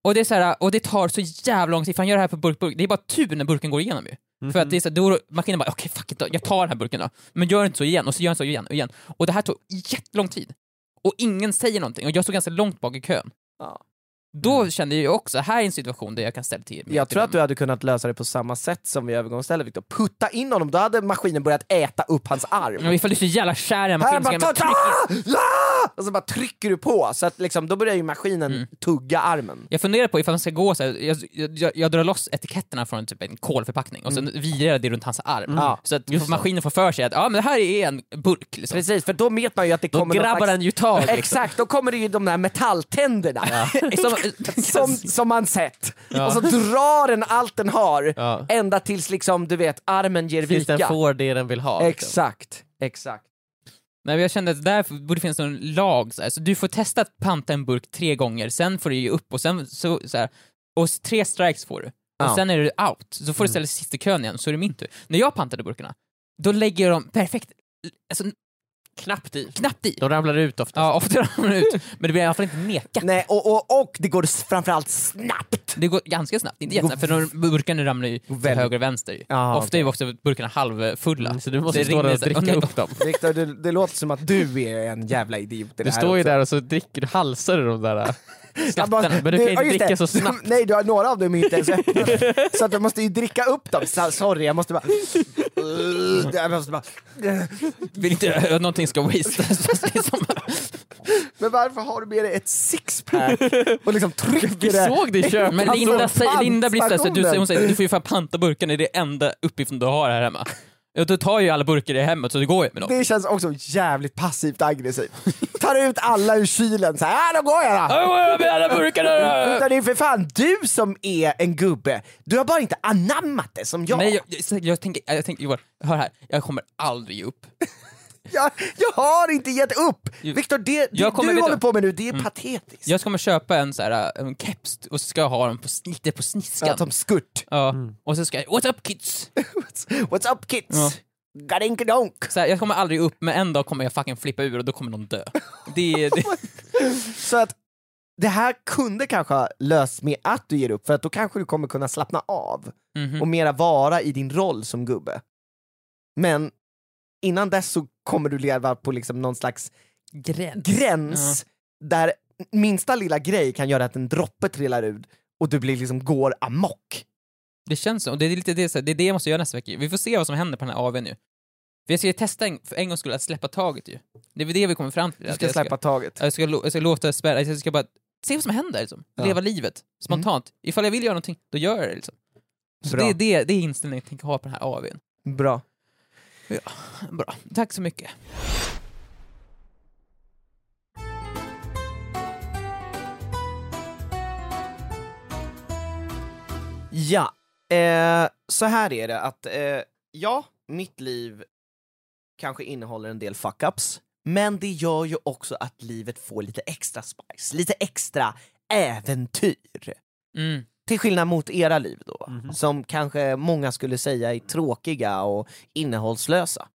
Speaker 3: Och det, är så här, och det tar så jävla lång tid, för han gör det här på burk, burk. Det är bara tur när burken går igenom ju.
Speaker 2: Mhm.
Speaker 3: För att det är så här, då maskinen bara okej fuck it då, jag tar den här burken då. Men gör inte så igen, och så gör den så igen och igen. Och det här tog jättelång tid. Och ingen säger någonting, och jag står ganska långt bak i kön.
Speaker 4: Ja.
Speaker 3: Då kände jag ju också, här är en situation där jag kan ställa till mig
Speaker 4: Jag
Speaker 3: till
Speaker 4: tror
Speaker 3: dem.
Speaker 4: att du hade kunnat lösa det på samma sätt som vid övergångsstället Viktor. Putta in honom, då hade maskinen börjat äta upp hans arm.
Speaker 2: Mm.
Speaker 3: Men ifall du är så jävla kär i den
Speaker 4: Här
Speaker 3: maskinen så
Speaker 4: bara,
Speaker 3: kan
Speaker 4: ta,
Speaker 3: jag
Speaker 4: ta,
Speaker 3: bara
Speaker 4: la! Och så bara trycker du på, så att liksom, då börjar ju maskinen
Speaker 2: Mm.
Speaker 4: tugga armen.
Speaker 3: Jag funderar på ifall man ska gå så här, jag, jag, jag drar loss etiketterna från typ en kolförpackning och sen virar jag det runt hans arm.
Speaker 4: Mm. Ja,
Speaker 3: Så att maskinen får för sig att ja, men det här är en burk. Liksom.
Speaker 4: Precis, för då vet man ju att det
Speaker 2: Då
Speaker 4: kommer någon
Speaker 2: grabbar
Speaker 4: slags-
Speaker 2: den ju tag. liksom.
Speaker 4: Exakt, då kommer det ju de där metalltänderna.
Speaker 3: Som-
Speaker 4: Som, som man sett. Och så drar den allt den har,
Speaker 2: Mhm. Ja.
Speaker 4: ända tills liksom, du vet, armen ger
Speaker 2: Tills den
Speaker 4: vika.
Speaker 2: får det den vill ha. liksom.
Speaker 4: Exakt, exakt.
Speaker 3: Nej, men jag kände att där borde finnas någon lag, så, här. så du får testa att panta en burk tre gånger, sen får du ge upp och sen så, så här, och s- tre strikes får du. Och
Speaker 4: Ja.
Speaker 3: sen är du out, så får du ställa dig sist i kön igen, så är det min tur. När jag pantade burkarna, då lägger jag dem perfekt, alltså
Speaker 2: Knappt i.
Speaker 3: knappt i.
Speaker 2: De ramlar ut ofta.
Speaker 3: Ja, ofta ramlar de ut, men det blir i alla fall inte nekat.
Speaker 4: Nej, och, och, och det går s- framförallt snabbt.
Speaker 3: Det går ganska snabbt, inte jättesnabbt, för de burkarna ramlar ju till
Speaker 4: väldigt-
Speaker 3: höger och vänster. ju.
Speaker 4: Ja,
Speaker 3: Ofta är ju också burkarna halvfulla.
Speaker 2: Så du måste
Speaker 3: Det
Speaker 2: stå där
Speaker 3: rinner
Speaker 2: och
Speaker 3: så här,
Speaker 2: dricka
Speaker 3: "Åh, nej,
Speaker 2: upp dem.
Speaker 4: Viktor, det, det låter som att du är en jävla idiot i det
Speaker 2: Du
Speaker 4: här
Speaker 2: står ju
Speaker 4: också.
Speaker 2: där och så dricker du, halsar du de där.
Speaker 4: Ja, bara-
Speaker 2: men du kan ju inte
Speaker 4: ja, just
Speaker 2: dricka
Speaker 4: det.
Speaker 2: så snabbt.
Speaker 4: Nej, du har några av dem är inte ens öppnade. Så att du måste ju dricka upp dem. Så, sorry, jag måste bara... Jag måste bara...
Speaker 3: Vill inte att någonting ska wastas. liksom.
Speaker 4: Men varför har du med dig ett sixpack och liksom trycker
Speaker 2: Vi såg det i köpet.
Speaker 3: Men Linda,
Speaker 4: Alltså,
Speaker 3: säger, Linda blir stressad, du,
Speaker 4: pantstationen.
Speaker 3: hon säger du får ju fan panta burken, det är det enda uppgiften du har här hemma. Ja, Du tar ju alla burkar i hemmet så det går ju med dem.
Speaker 4: Det känns också jävligt passivt aggressivt. Tar ut alla ur kylen såhär, ah, då går jag då!
Speaker 3: Jag går över med alla
Speaker 2: Äh.
Speaker 3: burkarna!
Speaker 4: Utan det är för fan du som är en gubbe, du har bara inte anammat det som jag.
Speaker 3: Nej, jag, jag, jag tänker, jag tänker Johan, hör här, jag kommer aldrig ge upp.
Speaker 4: jag, jag har inte gett upp! Viktor, det, det
Speaker 3: Jag kommer- Mm.
Speaker 4: du
Speaker 3: vet
Speaker 4: håller
Speaker 3: du-
Speaker 4: på med nu, det är patetiskt.
Speaker 3: Jag ska kommer köpa en, så här, eh, en keps och så ska jag ha den på, sn- lite på sniskan.
Speaker 4: Att de skurt.
Speaker 3: Ja. Och så ska jag, what's up kids?
Speaker 4: What's up kids?
Speaker 3: Ja.
Speaker 4: Gadinkadonk!
Speaker 3: Så här, jag kommer aldrig upp, men en dag kommer jag fucking flippa ur och då kommer någon dö. Det, det,
Speaker 4: Så att det här kunde kanske ha lösts med att du ger upp, för att då kanske du kommer kunna slappna av
Speaker 3: Mhm.
Speaker 4: och mera vara i din roll som gubbe. Men innan dess så kommer du leva på liksom någon slags
Speaker 3: Gräns.
Speaker 4: gräns där minsta lilla grej kan göra att en droppe trillar ut och du blir liksom går amok.
Speaker 3: det känns så, och det är lite det, så här, det är det jag måste göra nästa vecka. Vi får se vad som händer på den här AWn nu. Vi ska ju testa en, för en gångs skull att släppa taget ju. Det är väl det vi kommer fram till.
Speaker 4: Du
Speaker 3: att
Speaker 4: ska
Speaker 3: jag
Speaker 4: släppa taget.
Speaker 3: Jag ska, lo- jag ska låta spärra, jag ska bara se vad som händer liksom.
Speaker 4: Ja.
Speaker 3: Leva livet, spontant. Ifall jag vill göra någonting, då gör jag det liksom. Så
Speaker 4: Bra.
Speaker 3: det, är det, det är inställningen jag tänker ha på den här AWn.
Speaker 4: Bra.
Speaker 3: Bra, tack så mycket.
Speaker 4: Ja, eh, så här är det att eh, ja, mitt liv kanske innehåller en del fuck-ups, men det gör ju också att livet får lite extra spice, lite extra äventyr.
Speaker 3: Mm.
Speaker 4: Till skillnad mot era liv då,
Speaker 2: Mhm.
Speaker 4: som kanske många skulle säga är tråkiga och innehållslösa.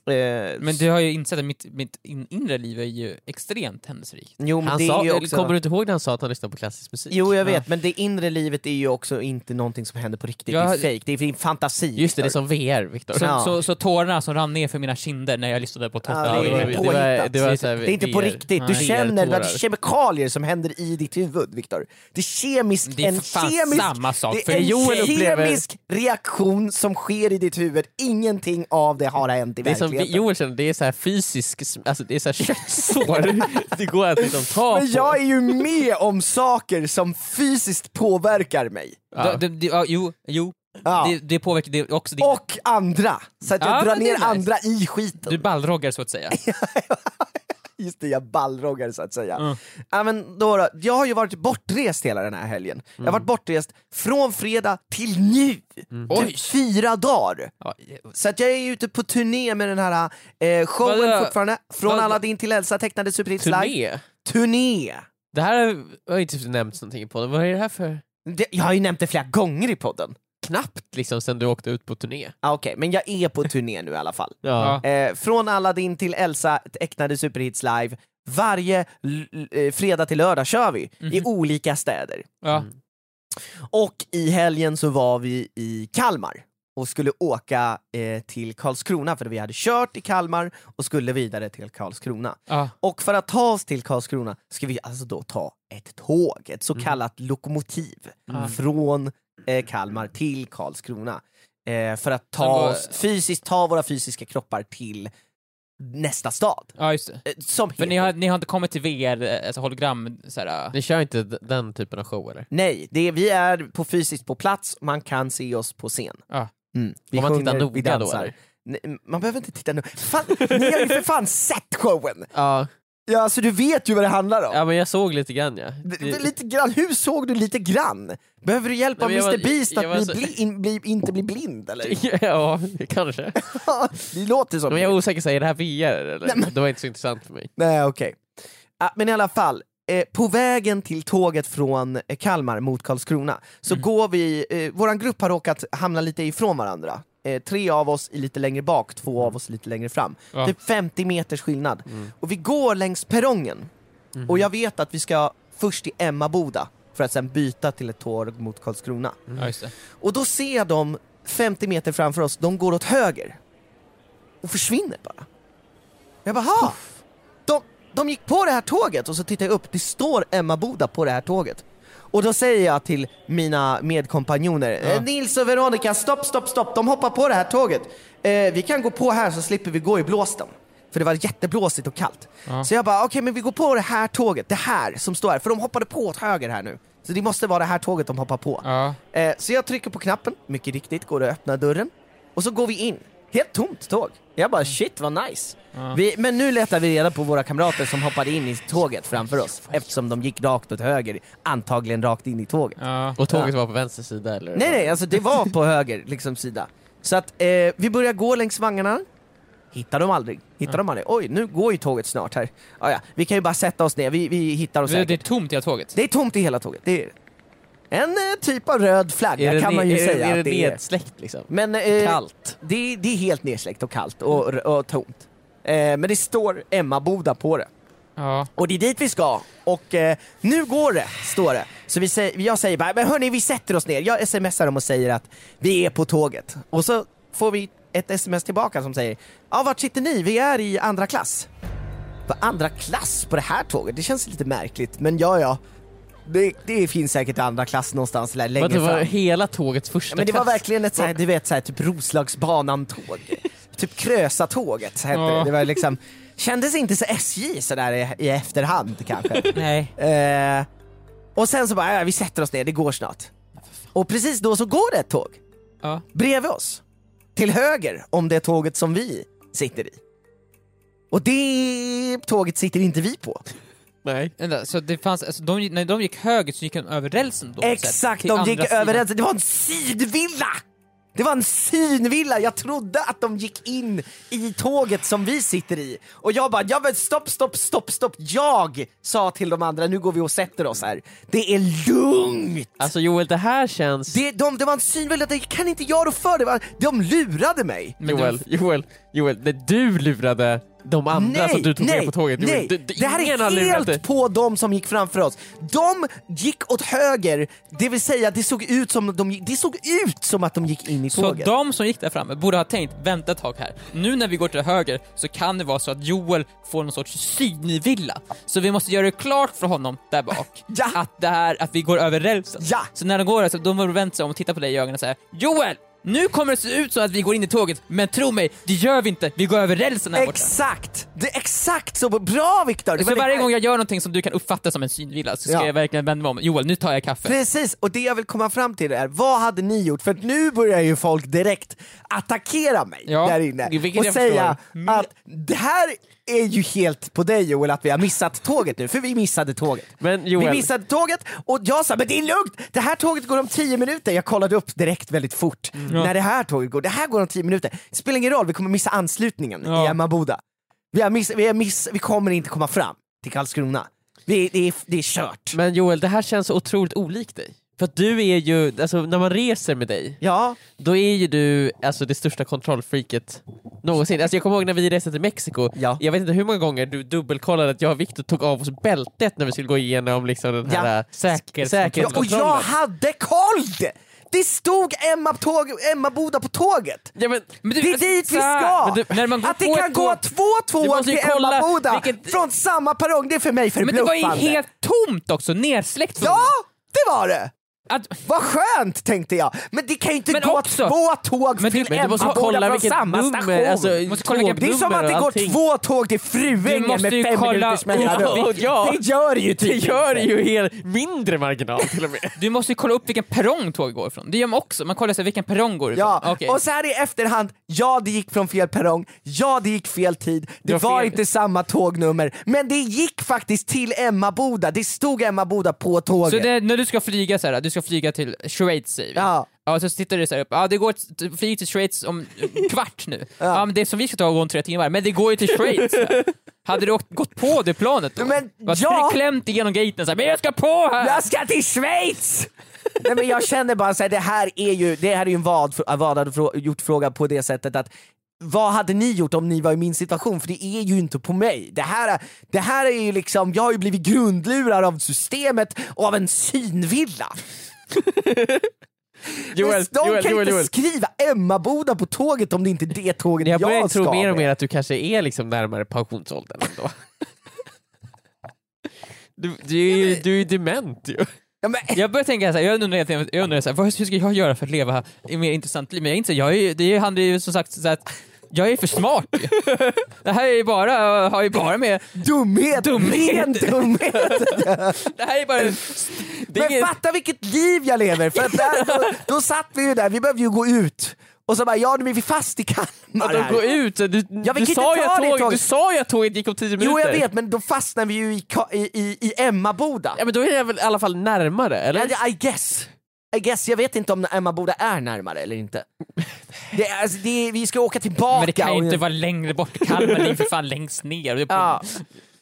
Speaker 4: Eh,
Speaker 3: Men du har ju insett att mitt, mitt in, inre liv är ju extremt händelserikt.
Speaker 4: jo, men
Speaker 2: Han
Speaker 4: det är
Speaker 2: sa,
Speaker 4: ju
Speaker 2: eller
Speaker 4: också...
Speaker 2: Kommer du inte ihåg när han sa att han lyssnade på klassisk musik?
Speaker 4: Jo, jag vet, men det inre livet är ju också inte någonting som händer på riktigt,
Speaker 3: Jag
Speaker 4: det är
Speaker 3: har-
Speaker 4: fejk, det är din fantasi.
Speaker 2: Just det, det är som VR, Viktor.
Speaker 3: Så,
Speaker 4: Ja.
Speaker 3: så, så tårarna som rann ner för mina kinder när jag lyssnade på Totta
Speaker 4: Ja,
Speaker 2: Ja,
Speaker 4: det är
Speaker 3: Alvin.
Speaker 4: ju
Speaker 2: var- var- det var
Speaker 4: påhittat.
Speaker 2: så här
Speaker 4: Det är inte på
Speaker 2: VR
Speaker 4: riktigt, du
Speaker 2: Nej.
Speaker 4: känner det
Speaker 2: VR-tårar.
Speaker 4: är kemikalier som händer i ditt huvud Viktor. Det är kemiskt,
Speaker 3: Det är
Speaker 4: en
Speaker 3: för fan
Speaker 4: kemisk,
Speaker 3: samma sak,
Speaker 4: det
Speaker 3: för
Speaker 4: är en
Speaker 3: Joel upplever-
Speaker 4: kemisk reaktion som sker i ditt huvud, ingenting av det har hänt i
Speaker 2: Det är som
Speaker 4: verkligheten.
Speaker 2: Joel känner, det är så här fysisk, sm- alltså det är så här köttsår. det går att liksom ta
Speaker 4: Men jag
Speaker 2: på.
Speaker 4: är ju med om saker som fysiskt påverkar mig,
Speaker 3: Ja. Det- det- ja, Jo, jo.
Speaker 4: Ja.
Speaker 3: Det, det påverkar det också ditt...
Speaker 4: och andra, så att jag
Speaker 3: Ja,
Speaker 4: drar
Speaker 3: men det
Speaker 4: ner
Speaker 3: är nice.
Speaker 4: andra i skiten.
Speaker 3: Du ballroggar så att säga.
Speaker 4: Just det, jag ballroggar så att säga. Ja, men då, då, jag har ju varit bortrest hela den här helgen. Jag
Speaker 3: Mm.
Speaker 4: har varit bortrest från fredag till nu!
Speaker 3: Oj.
Speaker 4: Typ fyra dagar!
Speaker 3: Ja,
Speaker 4: Så att jag är ju ute på turné med den här eh, showen
Speaker 3: Vadå?
Speaker 4: fortfarande, Från
Speaker 3: Vadå?
Speaker 4: Aladdin till Elsa tecknade superhits live.
Speaker 2: Turné?
Speaker 4: Turné!
Speaker 2: Det här har ju inte nämnts någonting på Vad är det här för
Speaker 4: Det, jag har ju nämnt det flera gånger i podden.
Speaker 2: knappt liksom sen du åkte ut på turné?
Speaker 4: Ah, Okej, men jag är på turné nu i alla fall.
Speaker 3: Ja.
Speaker 4: Eh, från Aladdin till Elsa tecknade superhits live. Varje l- l- eh, fredag till lördag kör vi
Speaker 3: Mm.
Speaker 4: i olika städer.
Speaker 3: ja.
Speaker 2: Mm.
Speaker 4: Och i helgen så var vi i Kalmar och skulle åka eh, till Karlskrona för vi hade kört i Kalmar och skulle vidare till Karlskrona.
Speaker 3: ja.
Speaker 4: Och för att ta oss till Karlskrona ska vi alltså då ta ett tåg, ett
Speaker 3: Mm.
Speaker 4: så kallat lokomotiv från eh, Kalmar till Karlskrona. Eh, för att ta
Speaker 3: Men vad-
Speaker 4: oss, fysiskt ta våra fysiska kroppar till nästa stad.
Speaker 3: ja just det.
Speaker 4: Eh, som
Speaker 3: För ni
Speaker 4: heter-
Speaker 3: har, ni har inte kommit till VR, eh, alltså hologram, så här,
Speaker 2: Ni kör inte d- den typen av show eller?
Speaker 4: Nej, det är, vi är på fysiskt på plats, man kan se oss på scen.
Speaker 3: Ja.
Speaker 4: Mm. Vi
Speaker 2: Om man
Speaker 4: sjunger,
Speaker 2: tittar noga
Speaker 4: vi
Speaker 2: då,
Speaker 4: dansar.
Speaker 2: eller?
Speaker 4: Nej, man behöver inte titta nu. Fan, ni har ju för fan sett showen!
Speaker 2: Ja.
Speaker 4: Ja, alltså du vet ju vad det handlar om.
Speaker 2: ja, men jag såg lite grann ja.
Speaker 4: Det, det, är lite grann, hur såg du lite grann? Behöver du hjälp
Speaker 2: Nej,
Speaker 4: av
Speaker 2: men jag var-
Speaker 4: Mr Beast
Speaker 2: jag
Speaker 4: att
Speaker 2: var
Speaker 4: bli
Speaker 2: så-
Speaker 4: bli, in, bli, inte bli blind eller?
Speaker 2: ja, kanske.
Speaker 4: det låter som
Speaker 2: Men
Speaker 4: det.
Speaker 2: jag är osäker, så är det här VR eller? Det var inte så intressant för mig.
Speaker 4: Nej okej. Ah, men i alla fall, eh, på vägen till tåget från eh, Kalmar mot Karlskrona så går vi, eh, våran grupp har råkat hamna lite ifrån varandra. Eh, tre av oss är lite längre bak, två av oss lite längre fram.
Speaker 3: Ja.
Speaker 4: Typ 50 meters skillnad. Och vi går längs perrongen. Och jag vet att vi ska först till Emmaboda för att sen byta till ett tåg mot Karlskrona.
Speaker 2: Mm.
Speaker 3: ja, just det.
Speaker 4: Och då ser jag dem 50 meter framför oss, de går åt höger. Och försvinner bara. Jag bara, ha! De, de gick på det här tåget och så tittar jag upp, det står Emma Boda på det här tåget. Och då säger jag till mina medkompanjoner, "Eh, Nils och Veronica, stopp, stopp, stopp, de hoppar på det här tåget. Eh, vi kan gå på här så slipper vi gå i blåsten. För det var jätteblåsigt och kallt. Så jag bara, okej men vi går på det här tåget, det här som står här, för de hoppade på åt höger här nu. Så det måste vara det här tåget de hoppar på.
Speaker 3: Ja.
Speaker 4: Eh, så jag trycker på knappen, mycket riktigt går det att öppna dörren. Och så går vi in. Helt tomt tåg. Jag bara shit vad nice.
Speaker 3: Ja.
Speaker 4: Vi, men nu letar vi reda på våra kamrater som hoppade in i tåget framför oss eftersom de gick rakt åt höger, antagligen rakt in i tåget.
Speaker 3: Ja.
Speaker 2: Och tåget var på vänster sida eller?
Speaker 4: Nej nej, alltså det var på höger liksom sida. Så att eh, vi börjar gå längs vagnarna. Hittar de aldrig. Hittar de aldrig. Oj, nu går ju tåget snart här. Ah, ja. Vi kan ju bara sätta oss ner, vi, vi hittar oss
Speaker 3: Det, det är
Speaker 4: säkert.
Speaker 3: tomt i det här tåget.
Speaker 4: Det är tomt i hela tåget. Det är en eh, typ av röd flagga kan man ju
Speaker 2: är,
Speaker 4: säga
Speaker 2: det, är
Speaker 4: att
Speaker 2: det
Speaker 4: det är.
Speaker 2: nedsläckt liksom?
Speaker 4: Men eh,
Speaker 2: Kallt.
Speaker 4: det, det är helt nedsläckt och kallt och, och tomt. Eh, men det står Emmaboda på det.
Speaker 3: Ja.
Speaker 4: Och det är dit vi ska. Och eh, nu går det, står det. Så vi säger, jag säger bara, men hörni vi sätter oss ner. Jag smsar dem och säger att vi är på tåget. Och så får vi ett sms tillbaka som säger, ja vart sitter ni? Vi är i andra klass. För andra klass på det här tåget? Det känns lite märkligt, men ja ja. Det, det finns säkert andra klass någonstans där längre
Speaker 2: Men det
Speaker 4: fram.
Speaker 2: var hela tågets första
Speaker 4: Ja, men det var
Speaker 2: klass.
Speaker 4: verkligen ett såhär, du vet såhär, typ Roslagsbanan-tåg. typ Krösatåget så hette det.
Speaker 3: Ja.
Speaker 4: Det var liksom, kändes inte så SJ sådär i, i efterhand kanske.
Speaker 3: Nej.
Speaker 4: eh, och sen så bara, ja, vi sätter oss ner, det går snart. Och precis då så går det ett tåg
Speaker 3: Ja.
Speaker 4: bredvid oss. Till höger om det tåget som vi sitter i. Och det tåget sitter inte vi på.
Speaker 2: Nej.
Speaker 3: Vänta, Så det fanns, alltså, de, när de gick höger så gick de över rälsen då? på sätt,
Speaker 4: Exakt,
Speaker 3: till
Speaker 4: de
Speaker 3: andra
Speaker 4: gick
Speaker 3: sidan.
Speaker 4: över rälsen. Det var en sidvilla! Det var en synvilla, jag trodde att de gick in i tåget som vi sitter i. Och jag bara, ja men stopp, stopp, stopp, stopp. Jag sa till de andra, nu går vi och sätter oss här. Det är lugnt!
Speaker 2: Alltså Joel, det här känns...
Speaker 4: Det, de, det var en synvilla, det kan inte jag rå för. Det var, de lurade mig.
Speaker 3: Men
Speaker 2: Joel,
Speaker 3: du-
Speaker 2: Joel, Joel, det du lurade de andra som Alltså, du tog med på tåget. Joel,
Speaker 4: nej.
Speaker 2: du, du,
Speaker 4: det här
Speaker 2: ingen har
Speaker 4: är
Speaker 2: lurat dig.
Speaker 4: helt på de som gick framför oss. De gick åt höger, det vill säga det såg ut som, de, gick- det såg ut som att de gick in i
Speaker 3: Så
Speaker 4: tåget.
Speaker 3: de som gick där framme borde ha tänkt, vänta ett tag här. Nu när vi går till höger så kan det vara så att Joel får någon sorts synvilla. Så vi måste göra det klart för honom där bak
Speaker 4: Ja.
Speaker 3: att, det här, att vi går över rälsen.
Speaker 4: Ja.
Speaker 3: Så när de går där så de borde vänt sig om och titta på dig i ögonen och säga Joel! Nu kommer det se ut så att vi går in i tåget, men tro mig, det gör vi inte. Vi går över rälsen här borta.
Speaker 4: Exakt! Det är exakt så! Bra Viktor! Det
Speaker 3: Så
Speaker 4: var det
Speaker 3: varje
Speaker 4: här-
Speaker 3: gång jag gör någonting som du kan uppfatta som en synvilla så ska
Speaker 4: Ja.
Speaker 3: jag verkligen vända mig om. Joel, nu tar jag kaffe.
Speaker 4: Precis, och det jag vill komma fram till är, vad hade ni gjort? För att nu börjar ju folk direkt attackera mig
Speaker 3: Ja,
Speaker 4: där inne
Speaker 3: vilket
Speaker 4: och
Speaker 3: jag
Speaker 4: säga
Speaker 3: förstår. Mm.
Speaker 4: att det här är ju helt på dig Joel att vi har missat tåget nu, för vi missade tåget.
Speaker 2: Men Joel-
Speaker 4: Vi missade tåget och jag sa men det är lugnt, det här tåget går om 10 minuter. Jag kollade upp direkt väldigt fort
Speaker 3: Mm.
Speaker 4: när det här tåget går. Det här går om 10 minuter. Det spelar ingen roll, vi kommer missa anslutningen
Speaker 3: Ja.
Speaker 4: i Emmaboda. Vi, har miss, vi, har miss, vi kommer inte komma fram till Karlskrona. Vi, det, är, det är kört.
Speaker 2: Men Joel, det här känns så otroligt olikt dig. För att du är ju, alltså när man reser med dig,
Speaker 4: Ja,
Speaker 2: då är ju du alltså, det största kontrollfreaket någonsin. Alltså, jag kommer ihåg när vi reste till Mexiko,
Speaker 4: Ja.
Speaker 2: jag vet inte hur många gånger du dubbelkollade att jag och Victor tog av oss bältet när vi skulle gå igenom liksom, den här
Speaker 4: Ja.
Speaker 2: ja. säkerhetskontrollen.
Speaker 4: Ja, och jag hade koll! Det stod Emma, tåg, Emma Boda på tåget!
Speaker 2: Ja, men,
Speaker 3: Men du,
Speaker 4: Det är
Speaker 3: alltså,
Speaker 4: dit vi
Speaker 3: så här,
Speaker 4: ska!
Speaker 3: men du, när man går
Speaker 4: att det
Speaker 3: på
Speaker 4: kan
Speaker 3: ett
Speaker 4: gå
Speaker 3: tåg-
Speaker 4: två
Speaker 3: Du
Speaker 4: tåg
Speaker 3: måste ju
Speaker 4: till
Speaker 3: kolla
Speaker 4: Emma Boda
Speaker 3: vilket-
Speaker 4: från samma perrong, det är för mig
Speaker 3: Men det var
Speaker 4: förbluffande.
Speaker 3: ju helt tomt också, nersläckt.
Speaker 4: Ja, det var det!
Speaker 3: Att,
Speaker 4: Vad skönt tänkte jag! Men det kan ju inte
Speaker 3: Men
Speaker 4: gå
Speaker 3: också-
Speaker 4: två tåg
Speaker 3: Men du-
Speaker 4: till
Speaker 2: men du måste kolla
Speaker 4: Emmaboda från
Speaker 2: vilket
Speaker 4: samma
Speaker 2: nummer,
Speaker 4: station!
Speaker 2: alltså,
Speaker 3: Måste kolla vilket
Speaker 4: det är som
Speaker 2: tågnummer
Speaker 4: att det
Speaker 2: och
Speaker 4: går
Speaker 2: allting.
Speaker 4: två tåg till
Speaker 3: Du
Speaker 4: Fruängen
Speaker 3: måste
Speaker 4: med
Speaker 3: ju
Speaker 4: fem
Speaker 3: kolla-
Speaker 4: minuters mellanrum.
Speaker 2: Ja, ja.
Speaker 4: Det gör det ju
Speaker 2: det
Speaker 4: typ
Speaker 2: gör
Speaker 4: inte.
Speaker 2: ju helt mindre marginal till och med.
Speaker 3: Du måste ju kolla upp vilken perrong tåget går ifrån. Det gör man också, man kollar sig vilken perrong går ifrån.
Speaker 4: Ja,
Speaker 3: Okej.
Speaker 4: och så här i efterhand, ja det gick från fel perrong, ja det gick fel tid, det
Speaker 2: Det var
Speaker 4: var
Speaker 2: fel.
Speaker 4: inte samma tågnummer, men det gick faktiskt till Emmaboda, det stod Emmaboda på tåget.
Speaker 3: Så det, när du ska flyga så här, du ska flyga till Schweiz säger vi.
Speaker 4: Ja.
Speaker 3: Ja, så tittar du så här upp, ja det går ett ett flyg till Schweiz om en kvart nu. Ja. men det som vi ska ta går om tre timmar, men det går ju till Schweiz. Hade du åkt, gått på det planet då?
Speaker 4: Men,
Speaker 3: Varit
Speaker 4: ja.
Speaker 3: priklämt igenom gaten så här, men jag ska på här!
Speaker 4: Jag ska till Schweiz! Nej, men jag känner bara så här, det här är ju, det här är ju en vad, vad gjort fråga på det sättet att vad hade ni gjort om ni var i min situation? För det är ju inte på mig. Det här, det här är ju liksom, jag har ju blivit grundlurad av systemet och av en synvilla.
Speaker 2: Joel,
Speaker 4: Men de
Speaker 2: Joel,
Speaker 4: kan
Speaker 2: Joel,
Speaker 4: inte
Speaker 2: Joel.
Speaker 4: skriva Emmaboda på tåget om det inte är det tåget
Speaker 2: Jag
Speaker 4: jag,
Speaker 2: börjar
Speaker 4: ska
Speaker 2: tro mer och
Speaker 4: med.
Speaker 2: mer att du kanske är liksom närmare pensionsåldern ändå. Du, du, är ju- du är ju dement ju.
Speaker 4: Ja, men,
Speaker 3: Jag börjar tänka såhär, jag undrar, hela tiden- jag undrar såhär, vad hur ska jag göra för att leva ett mer intressant liv? Men jag inser, jag är, ju- det handlar ju som sagt så att jag är för smart ju. Det här är ju bara, har ju bara med,
Speaker 4: dumhet!
Speaker 3: Dumhet.
Speaker 4: Ren dumhet!
Speaker 3: det här är bara... Det är
Speaker 4: Men
Speaker 3: inget-
Speaker 4: fatta vilket liv jag lever! För att där, då, då satt vi ju där, vi behövde ju gå ut. Och så bara, ja nu är vi fast i
Speaker 2: Att
Speaker 4: Kalmar
Speaker 2: de går
Speaker 4: här.
Speaker 2: ut, du,
Speaker 4: Ja, vi
Speaker 2: du,
Speaker 4: kan
Speaker 2: sa
Speaker 4: inte
Speaker 2: ju
Speaker 4: ta
Speaker 2: att
Speaker 4: det
Speaker 2: tåget, du
Speaker 4: tåget.
Speaker 2: sa ju att tåget gick om 10 minuter.
Speaker 4: Jo jag vet, men då fastnar vi ju i, Ka- i, i, i Emmaboda.
Speaker 2: Ja, men då är det väl i alla fall närmare, eller?
Speaker 4: I, I guess. I guess, jag vet inte om Emmaboda är närmare eller inte. Det, är- alltså, det, är- vi ska åka tillbaka.
Speaker 3: Men det kan ju
Speaker 4: och-
Speaker 3: inte vara längre bort. Kalmar det är ju för fan längst ner. Det är på-
Speaker 4: Ja.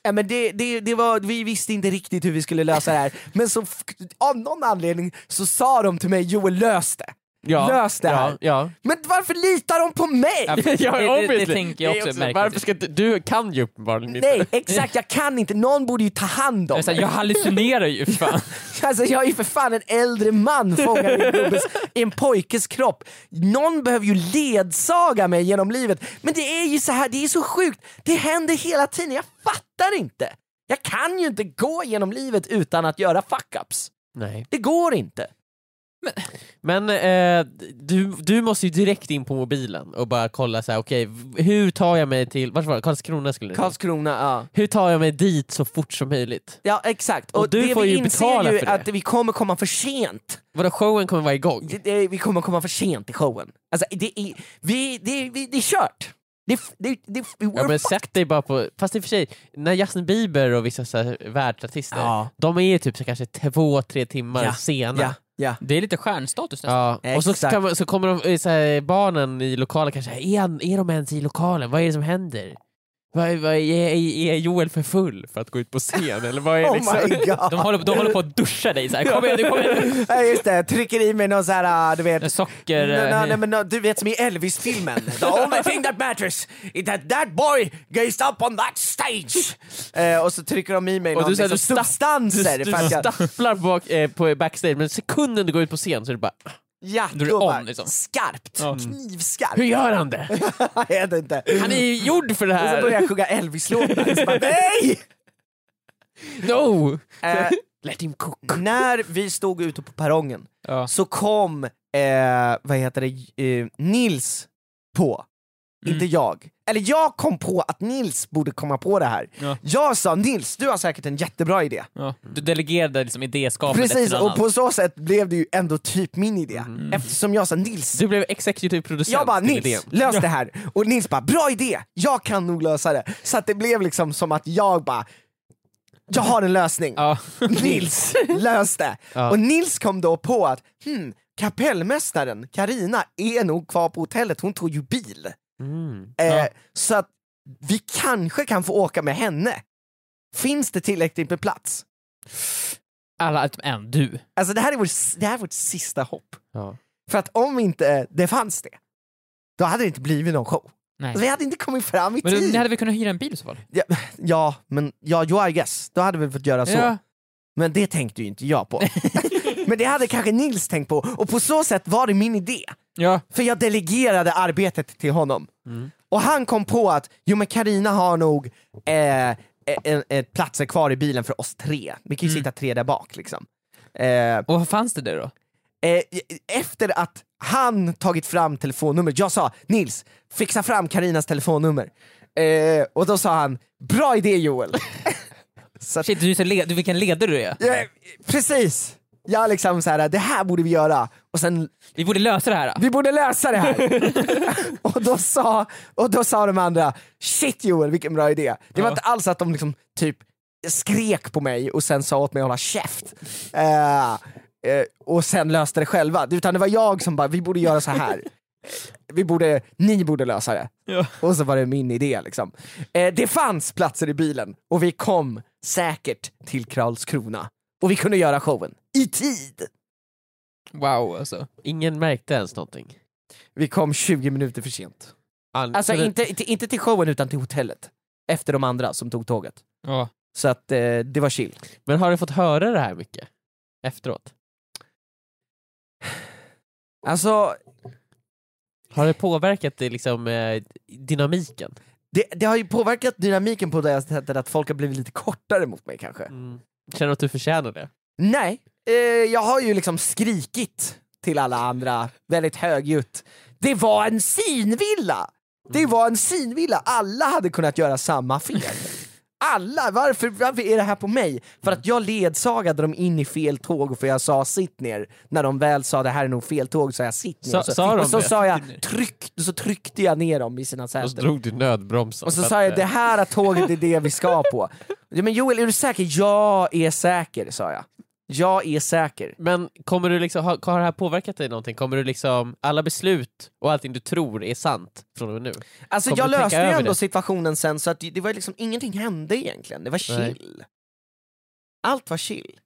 Speaker 4: Ja, men det, det, det var, vi visste inte riktigt hur vi skulle lösa det här, men så, f- av någon anledning så sa de till mig Joel lös det! Lös det här!
Speaker 2: Ja, ja.
Speaker 4: Men varför litar de på mig?
Speaker 2: ja
Speaker 3: det- det
Speaker 2: obviously.
Speaker 3: tänker jag
Speaker 2: Det är
Speaker 3: också är märkligt.
Speaker 2: Varför ska du, du kan ju uppenbarligen inte.
Speaker 4: Nej, exakt, jag kan inte. Någon borde ju ta hand om
Speaker 3: Jag, säger,
Speaker 4: mig.
Speaker 3: jag hallucinerar ju för fan.
Speaker 4: Alltså, jag är ju för fan en äldre man fångad i en gubbes- i en pojkes kropp. Någon behöver ju ledsaga mig genom livet. Men det är ju så här, det är så sjukt. Det händer hela tiden, jag fattar inte. Jag kan ju inte gå genom livet utan att göra fuck-ups.
Speaker 2: Nej.
Speaker 4: Det går inte.
Speaker 2: Men eh, du, du måste ju direkt in på mobilen och bara kolla så här, okej, v- hur tar jag mig till, vart var det? Karlskrona skulle du säga.
Speaker 4: Karlskrona, ja.
Speaker 2: Hur tar jag mig dit så fort som möjligt?
Speaker 4: Ja exakt, och,
Speaker 2: Och du
Speaker 4: det
Speaker 2: får
Speaker 4: vi
Speaker 2: ju
Speaker 4: inser
Speaker 2: betala
Speaker 4: ju
Speaker 2: för det.
Speaker 4: att vi kommer komma för sent.
Speaker 2: Vadå, showen kommer vara igång?
Speaker 4: Det- det- Vi kommer komma för sent i showen. Alltså det är, vi, det, vi, det är kört. Det, f- det, det, we're
Speaker 2: Ja, men
Speaker 4: fucked.
Speaker 2: sätt dig bara på, fast i och för sig, när Justin Bieber och vissa så här världsartister,
Speaker 4: Ja.
Speaker 2: de är ju typ så kanske två, tre timmar
Speaker 4: Ja.
Speaker 2: sena.
Speaker 4: ja, ja.
Speaker 3: Det är lite stjärnstatus nästan.
Speaker 2: Ja, och så,
Speaker 4: Exakt.
Speaker 2: kan man, så kommer de, eh, så här, barnen i lokalen kanske, är, han, är de ens i lokalen? Vad är det som händer? Vad, vad, är, är Joel för full för att gå ut på scen? Eller vad är
Speaker 4: Oh
Speaker 2: liksom...
Speaker 4: my god!
Speaker 3: De, håller, de håller på att duscha dig såhär, kom igen nu, kom igen nu.
Speaker 4: Ja, just det, trycker i mig någon så här, ah, du vet...
Speaker 3: Socker...
Speaker 4: Nå-
Speaker 2: eh,
Speaker 4: nå- nej, men nå- du vet som i Elvis-filmen. The only thing that matters is that that boy gazed up on that stage. Eh, och så trycker de i mig
Speaker 2: Och
Speaker 4: någon
Speaker 2: du, så här,
Speaker 4: liksom,
Speaker 2: du stapp-
Speaker 4: substanser.
Speaker 2: Du,
Speaker 4: för att
Speaker 2: du
Speaker 4: jag,
Speaker 2: stapplar bak, eh, på backstage, men sekunden du går ut på scen så är det bara
Speaker 4: ja,
Speaker 3: du är
Speaker 4: då
Speaker 3: on,
Speaker 4: bara,
Speaker 3: liksom.
Speaker 4: Skarpt!
Speaker 3: Ja.
Speaker 2: Hur
Speaker 4: Knivskarpt!
Speaker 2: gör han det?
Speaker 4: Jag vet inte.
Speaker 2: Han är ju gjord för det
Speaker 4: Och så
Speaker 2: här!
Speaker 4: börjar jag sjunga Elvis-låtar. Så bara, Nej!
Speaker 2: No!
Speaker 4: Eh,
Speaker 2: Let him cook.
Speaker 4: när vi stod ute på perrongen
Speaker 3: Ja.
Speaker 4: så kom, eh, vad heter det, eh, Nils på.
Speaker 2: Mm.
Speaker 4: Inte jag. Eller jag kom på att Nils borde komma på det här.
Speaker 3: Ja.
Speaker 4: Jag sa Nils, du har säkert en jättebra idé.
Speaker 3: Ja. Du delegerade liksom idéskapandet
Speaker 4: Precis,
Speaker 3: till
Speaker 4: och
Speaker 3: någon annan.
Speaker 4: på så sätt blev det ju ändå typ min idé.
Speaker 2: Mm.
Speaker 4: Eftersom jag sa Nils,
Speaker 2: Du blev executive producent
Speaker 4: jag bara
Speaker 2: till idén.
Speaker 4: Nils, lös det här! Och Nils bara bra idé, jag kan nog lösa det. Så att det blev liksom som att jag bara, jag har en lösning.
Speaker 3: Ja.
Speaker 4: Nils löste.
Speaker 2: Ja.
Speaker 4: Och Nils kom då på att hmm, kapellmästaren Karina är nog kvar på hotellet, hon tog ju bil.
Speaker 2: Mm.
Speaker 4: Eh,
Speaker 3: Ja.
Speaker 4: Så att vi kanske kan få åka med henne. Finns det tillräckligt med plats?
Speaker 3: Alla utom en, du.
Speaker 4: Alltså det här är vårt, det här är vårt sista hopp.
Speaker 2: Ja.
Speaker 4: För att om inte det fanns det, då hade det inte blivit någon show.
Speaker 3: Nej.
Speaker 4: Alltså, vi hade inte kommit fram i
Speaker 3: Men du,
Speaker 4: tid.
Speaker 3: ni hade väl kunnat hyra en bil i så fall?
Speaker 4: Ja, ja, men ja, jo I guess, då hade vi fått göra så. Men det tänkte ju inte jag på. Men det hade kanske Nils tänkt på och på så sätt var det min idé.
Speaker 3: Ja.
Speaker 4: För jag delegerade arbetet till honom. Och han kom på att, jo men Karina har nog eh, en, en, en platser kvar i bilen för oss tre. Vi kan ju
Speaker 3: Mm.
Speaker 4: sitta tre där bak liksom. Eh,
Speaker 3: Och vad fanns det där då?
Speaker 4: eh, efter att han tagit fram telefonnumret, jag sa Nils, fixa fram Karinas telefonnummer. Eh, och då sa han, bra idé Joel! så att,
Speaker 3: Shit, du, är så le- du vilken ledare du är.
Speaker 4: eh, precis! Jag liksom så här, det här borde vi göra, och sen
Speaker 3: Vi borde lösa det här. då.
Speaker 4: vi borde lösa det här! och, då sa, och då sa de andra, shit Joel vilken bra idé. Det var
Speaker 3: Ja.
Speaker 4: inte alls att de liksom typ skrek på mig och sen sa åt mig att hålla käft. Eh, eh, och sen löste det själva, utan det var jag som bara, vi borde göra så här. Eh, Vi borde, ni borde lösa det.
Speaker 3: Ja.
Speaker 4: Och så var det min idé liksom. Eh, det fanns platser i bilen och vi kom säkert till Karlskrona. Och vi kunde göra showen, i tid!
Speaker 3: Wow alltså.
Speaker 2: Ingen märkte ens någonting.
Speaker 4: Vi kom 20 minuter för sent.
Speaker 2: An-
Speaker 4: Alltså
Speaker 2: så det-
Speaker 4: inte, inte, inte till showen utan till hotellet. Efter de andra som tog tåget.
Speaker 3: Ja.
Speaker 4: Så att eh, det var chill.
Speaker 2: Men har du fått höra det här mycket? Efteråt?
Speaker 4: Alltså,
Speaker 2: Har det påverkat det, liksom, eh, dynamiken?
Speaker 4: det, det har ju påverkat dynamiken på det sättet att folk har blivit lite kortare mot mig kanske.
Speaker 2: Känner du att du förtjänar det?
Speaker 4: Nej, eh, jag har ju liksom skrikit till alla andra väldigt högljutt. Det var en
Speaker 3: Mm.
Speaker 4: synvilla! Det var en synvilla, alla hade kunnat göra samma fel. Alla! Varför, varför är det här på mig? För att jag ledsagade dem in i fel tåg och för jag sa sitt ner. När de väl sa det här är nog fel tåg sa jag sitt ner.
Speaker 3: Sa-
Speaker 4: och så,
Speaker 3: sa de
Speaker 4: och så
Speaker 3: det?
Speaker 4: sa jag tryck, och så tryckte jag ner dem i sina
Speaker 2: Och så
Speaker 4: säten.
Speaker 2: drog du nödbromsen.
Speaker 4: Och så
Speaker 2: för att,
Speaker 4: sa jag
Speaker 2: eh,
Speaker 4: det här tåget är det vi ska på. Ja, Men Joel är du säker? Jag är säker sa jag. Jag är säker.
Speaker 2: Men kommer du liksom, har, har det här påverkat dig någonting? Kommer du liksom, alla beslut och allting du tror är sant från och med nu?
Speaker 4: Alltså
Speaker 2: Kommer
Speaker 4: jag
Speaker 2: du tänka
Speaker 4: löste ju
Speaker 2: över
Speaker 4: ändå
Speaker 2: det?
Speaker 4: situationen sen så att det det var liksom, ingenting hände egentligen. Det var chill. Allt var chill.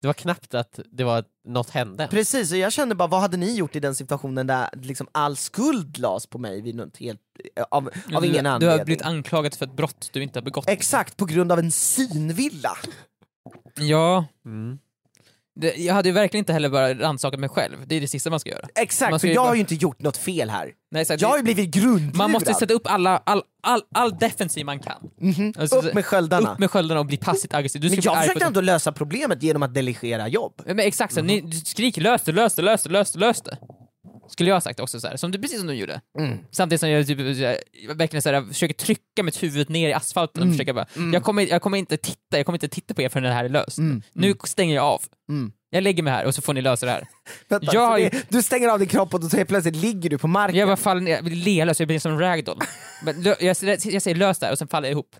Speaker 2: Det var knappt att det var något hände.
Speaker 4: Precis, och jag kände bara vad hade ni gjort i den situationen där liksom all skuld lades på mig vid något helt, eh, av, av ingen
Speaker 3: du, du har
Speaker 4: anledning?
Speaker 3: blivit anklagad för ett brott du inte har begått.
Speaker 4: Exakt, på grund av en synvilla.
Speaker 3: ja,
Speaker 2: Mm.
Speaker 3: det, jag hade ju verkligen inte heller bara rannsakat mig själv. Det är det sista man ska göra. Man
Speaker 4: Exakt,
Speaker 3: ska
Speaker 4: för
Speaker 3: ju
Speaker 4: jag
Speaker 3: bara-
Speaker 4: har ju inte gjort något fel här.
Speaker 3: Nej, exakt,
Speaker 4: Jag har ju blivit grundlurad.
Speaker 3: man måste sätta upp alla, all, all, all defensiv man kan.
Speaker 4: Mhm.
Speaker 3: Alltså,
Speaker 4: upp med sköldarna.
Speaker 3: Upp med sköldarna och bli passivt aggressiv. Du ska
Speaker 4: Men
Speaker 3: bli
Speaker 4: jag
Speaker 3: arg
Speaker 4: försökte
Speaker 3: på-
Speaker 4: ändå lösa problemet genom att delegera jobb.
Speaker 3: Ja, Men exakt, så, ni, du skriker lös det, lös det, lös det, lös det, lös det. Skulle jag ha sagt också så här, som, du- precis som du gjorde.
Speaker 2: Mm.
Speaker 3: Samtidigt som jag typ, så här, verkligen så här, försöker trycka mitt huvud ner i asfalten
Speaker 2: Mm.
Speaker 3: och försöka bara, jag, kommer, jag kommer inte titta, jag kommer inte titta på er förrän det här är löst.
Speaker 2: Mm.
Speaker 3: Nu stänger jag av. Jag lägger mig här och så får ni lösa det här.
Speaker 4: Vänta,
Speaker 3: Jag har
Speaker 4: så
Speaker 3: ju-
Speaker 4: det- Du stänger av din kropp och då helt plötsligt ligger du på marken.
Speaker 3: Jag bara faller ner, jag blir lealös, jag blir som ragdoll. Men, lö- jag, jag, jag säger lös det här och sen faller jag ihop.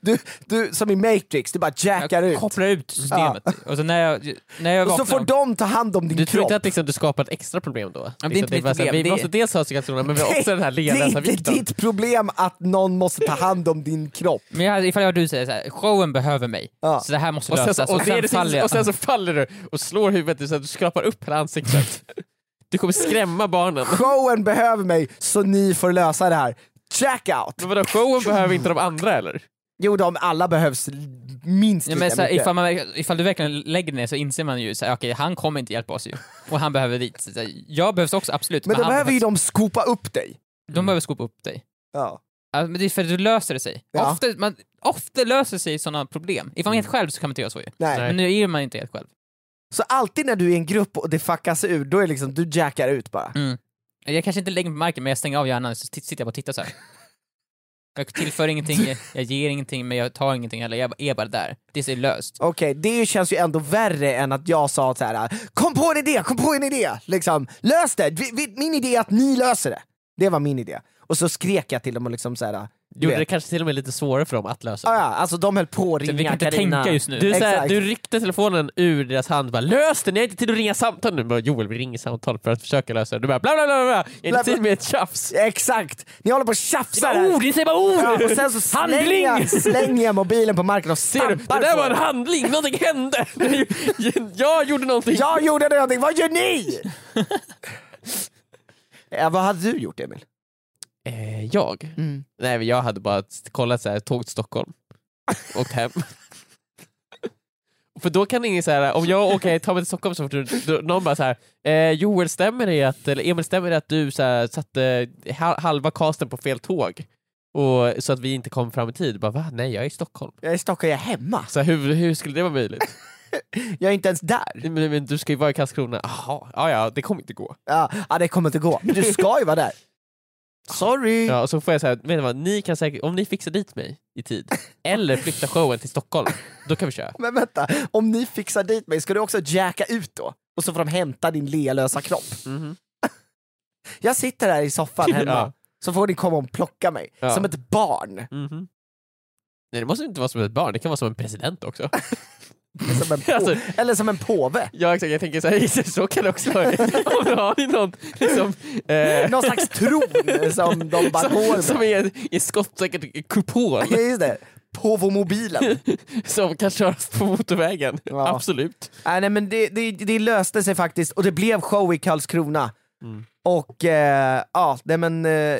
Speaker 4: Du, du, som i Matrix, du bara jackar
Speaker 3: Jag
Speaker 4: ut.
Speaker 3: kopplar ut systemet. Och så när jag, när jag
Speaker 4: Och
Speaker 3: vaknar
Speaker 4: så får de ta hand om din
Speaker 2: Du tror
Speaker 4: kropp.
Speaker 2: inte att liksom, du skapar ett extra problem då?
Speaker 3: det är
Speaker 2: liksom,
Speaker 3: inte mitt
Speaker 2: bara så här,
Speaker 3: problem,
Speaker 2: Vi
Speaker 3: det är-
Speaker 2: måste dels ha psykiatrorna men vi har också den här
Speaker 4: det är inte
Speaker 2: ledarvikten.
Speaker 4: ditt problem att någon måste ta hand om din kropp.
Speaker 3: Men jag, ifall jag och du säger så här, showen behöver mig,
Speaker 4: Ja.
Speaker 3: så det här måste
Speaker 2: Och sen,
Speaker 3: lösas.
Speaker 2: så, och, det är det
Speaker 3: faller
Speaker 2: sista-
Speaker 3: jag.
Speaker 2: och sen så faller du och slår huvudet så att du skrapar upp hela ansiktet. Du kommer skrämma barnen.
Speaker 4: Showen behöver mig så ni får lösa det här. Check out!
Speaker 2: Men vadå, showen behöver inte de andra eller?
Speaker 4: Jo, de alla behövs minst
Speaker 3: Ja,
Speaker 4: lika
Speaker 3: men så här,
Speaker 4: mycket.
Speaker 3: ifall, man, verk- ifall du verkligen lägger ner så inser man ju så här, okej, han kommer inte hjälpa oss ju. Och han behöver dit. Så här, jag behövs också absolut.
Speaker 4: men då
Speaker 3: han
Speaker 4: behöver ju de skopa upp dig.
Speaker 3: de behöver skopa upp dig.
Speaker 4: Ja.
Speaker 3: Ja, men det är för att du löser det sig.
Speaker 4: Ja. Mm.
Speaker 3: Ofta, man, ofta löser sig sådana problem. Ifall man är helt själv så kan man inte göra så ju.
Speaker 4: Nej.
Speaker 3: Men nu är man inte helt själv.
Speaker 4: Så alltid när du är i en grupp och det fuckas ur, då är det liksom, du jackar ut bara.
Speaker 3: Jag kanske inte lägger mig på marken men jag stänger av hjärnan så t- sitter jag bara och tittar så här. Jag tillför ingenting, jag, jag ger ingenting, men jag tar ingenting heller. Jag bara- är bara där. Det är löst.
Speaker 4: Okej, det känns ju ändå värre än att jag sa så här. kom på en idé, kom på en idé! Liksom, lös det! Vi, vi, min idé är att ni löser det. Det var min idé. Och så skrek jag till dem och liksom så här. du
Speaker 2: Gjorde
Speaker 4: vet.
Speaker 2: det kanske till och med lite svårare för dem att lösa.
Speaker 4: Ja, ja, alltså de höll på att ringa
Speaker 3: Vi kan inte
Speaker 4: Carina.
Speaker 3: tänka just nu.
Speaker 2: Du, är såhär,
Speaker 4: Exakt.
Speaker 2: du ryckte telefonen ur deras hand och bara lös det, ni har inte tid att ringa samtal nu. Bara, Joel, vi ringer samtal för att försöka lösa det. Du bara bla bla bla, bla. jag har
Speaker 4: Bla,
Speaker 2: inte
Speaker 4: bla.
Speaker 2: tid med ett tjafs.
Speaker 4: Exakt! Ni håller på och tjafsar här.
Speaker 2: Ord, ni säger bara ord!
Speaker 4: Ja, och sen så slänger jag, slänger jag mobilen på marken och
Speaker 2: Ser du?
Speaker 4: stampar
Speaker 2: Det där
Speaker 4: på
Speaker 2: var en
Speaker 4: den.
Speaker 2: handling, någonting hände! Jag gjorde någonting.
Speaker 4: Jag gjorde någonting, vad gör ni? ja, vad hade du gjort Emil?
Speaker 2: Eh, jag? Nej, men jag hade bara kollat så här, tåg till Stockholm, åkt hem. För då kan ingen säga om jag åker, tar mig till Stockholm så fort du- då, någon bara så här, eh, Joel stämmer det att, eller Emil stämmer det att du så här, satte ha- halva casten på fel tåg? Och, så att vi inte kom fram i tid. Bara, va? Nej, jag är i Stockholm.
Speaker 4: Jag är i Stockholm, jag är hemma.
Speaker 2: Så här, hur, hur skulle det vara möjligt?
Speaker 4: Jag är inte ens där.
Speaker 2: Men, men du ska ju vara i Karlskrona. Jaha, ja, ja, det kommer inte gå.
Speaker 4: Ja, ja, det kommer inte gå. Men du ska ju vara där. Sorry!
Speaker 2: Ja, och så får jag säga, vet ni vad, ni kan säkert, om ni fixar dit mig i tid, eller flyttar showen till Stockholm, då kan vi köra.
Speaker 4: Men vänta, om ni fixar dit mig, ska du också jacka ut då? Och så får de hämta din lealösa kropp.
Speaker 2: Mhm.
Speaker 4: Jag sitter här i soffan hemma,
Speaker 2: Ja.
Speaker 4: så får ni komma och plocka mig.
Speaker 2: Ja.
Speaker 4: Som ett barn.
Speaker 2: Mhm. Nej det måste inte vara som ett barn, det kan vara som en president också.
Speaker 4: Som en på-
Speaker 2: Alltså-
Speaker 4: Eller som en påve.
Speaker 2: ja exakt, jag tänker så här, så kan det också vara. Om du har någon liksom, eh,
Speaker 4: Någon slags tron som de bara går
Speaker 2: som,
Speaker 4: med.
Speaker 2: som är en skottsäker kupol
Speaker 4: Ja, just det. Påvomobilen.
Speaker 2: som kan köras på motorvägen.
Speaker 4: Ja.
Speaker 2: Absolut.
Speaker 4: Nej, nej men det, det, det löste sig faktiskt och det blev show i Karlskrona.
Speaker 2: Mm.
Speaker 4: Och eh, ja, nej, men eh,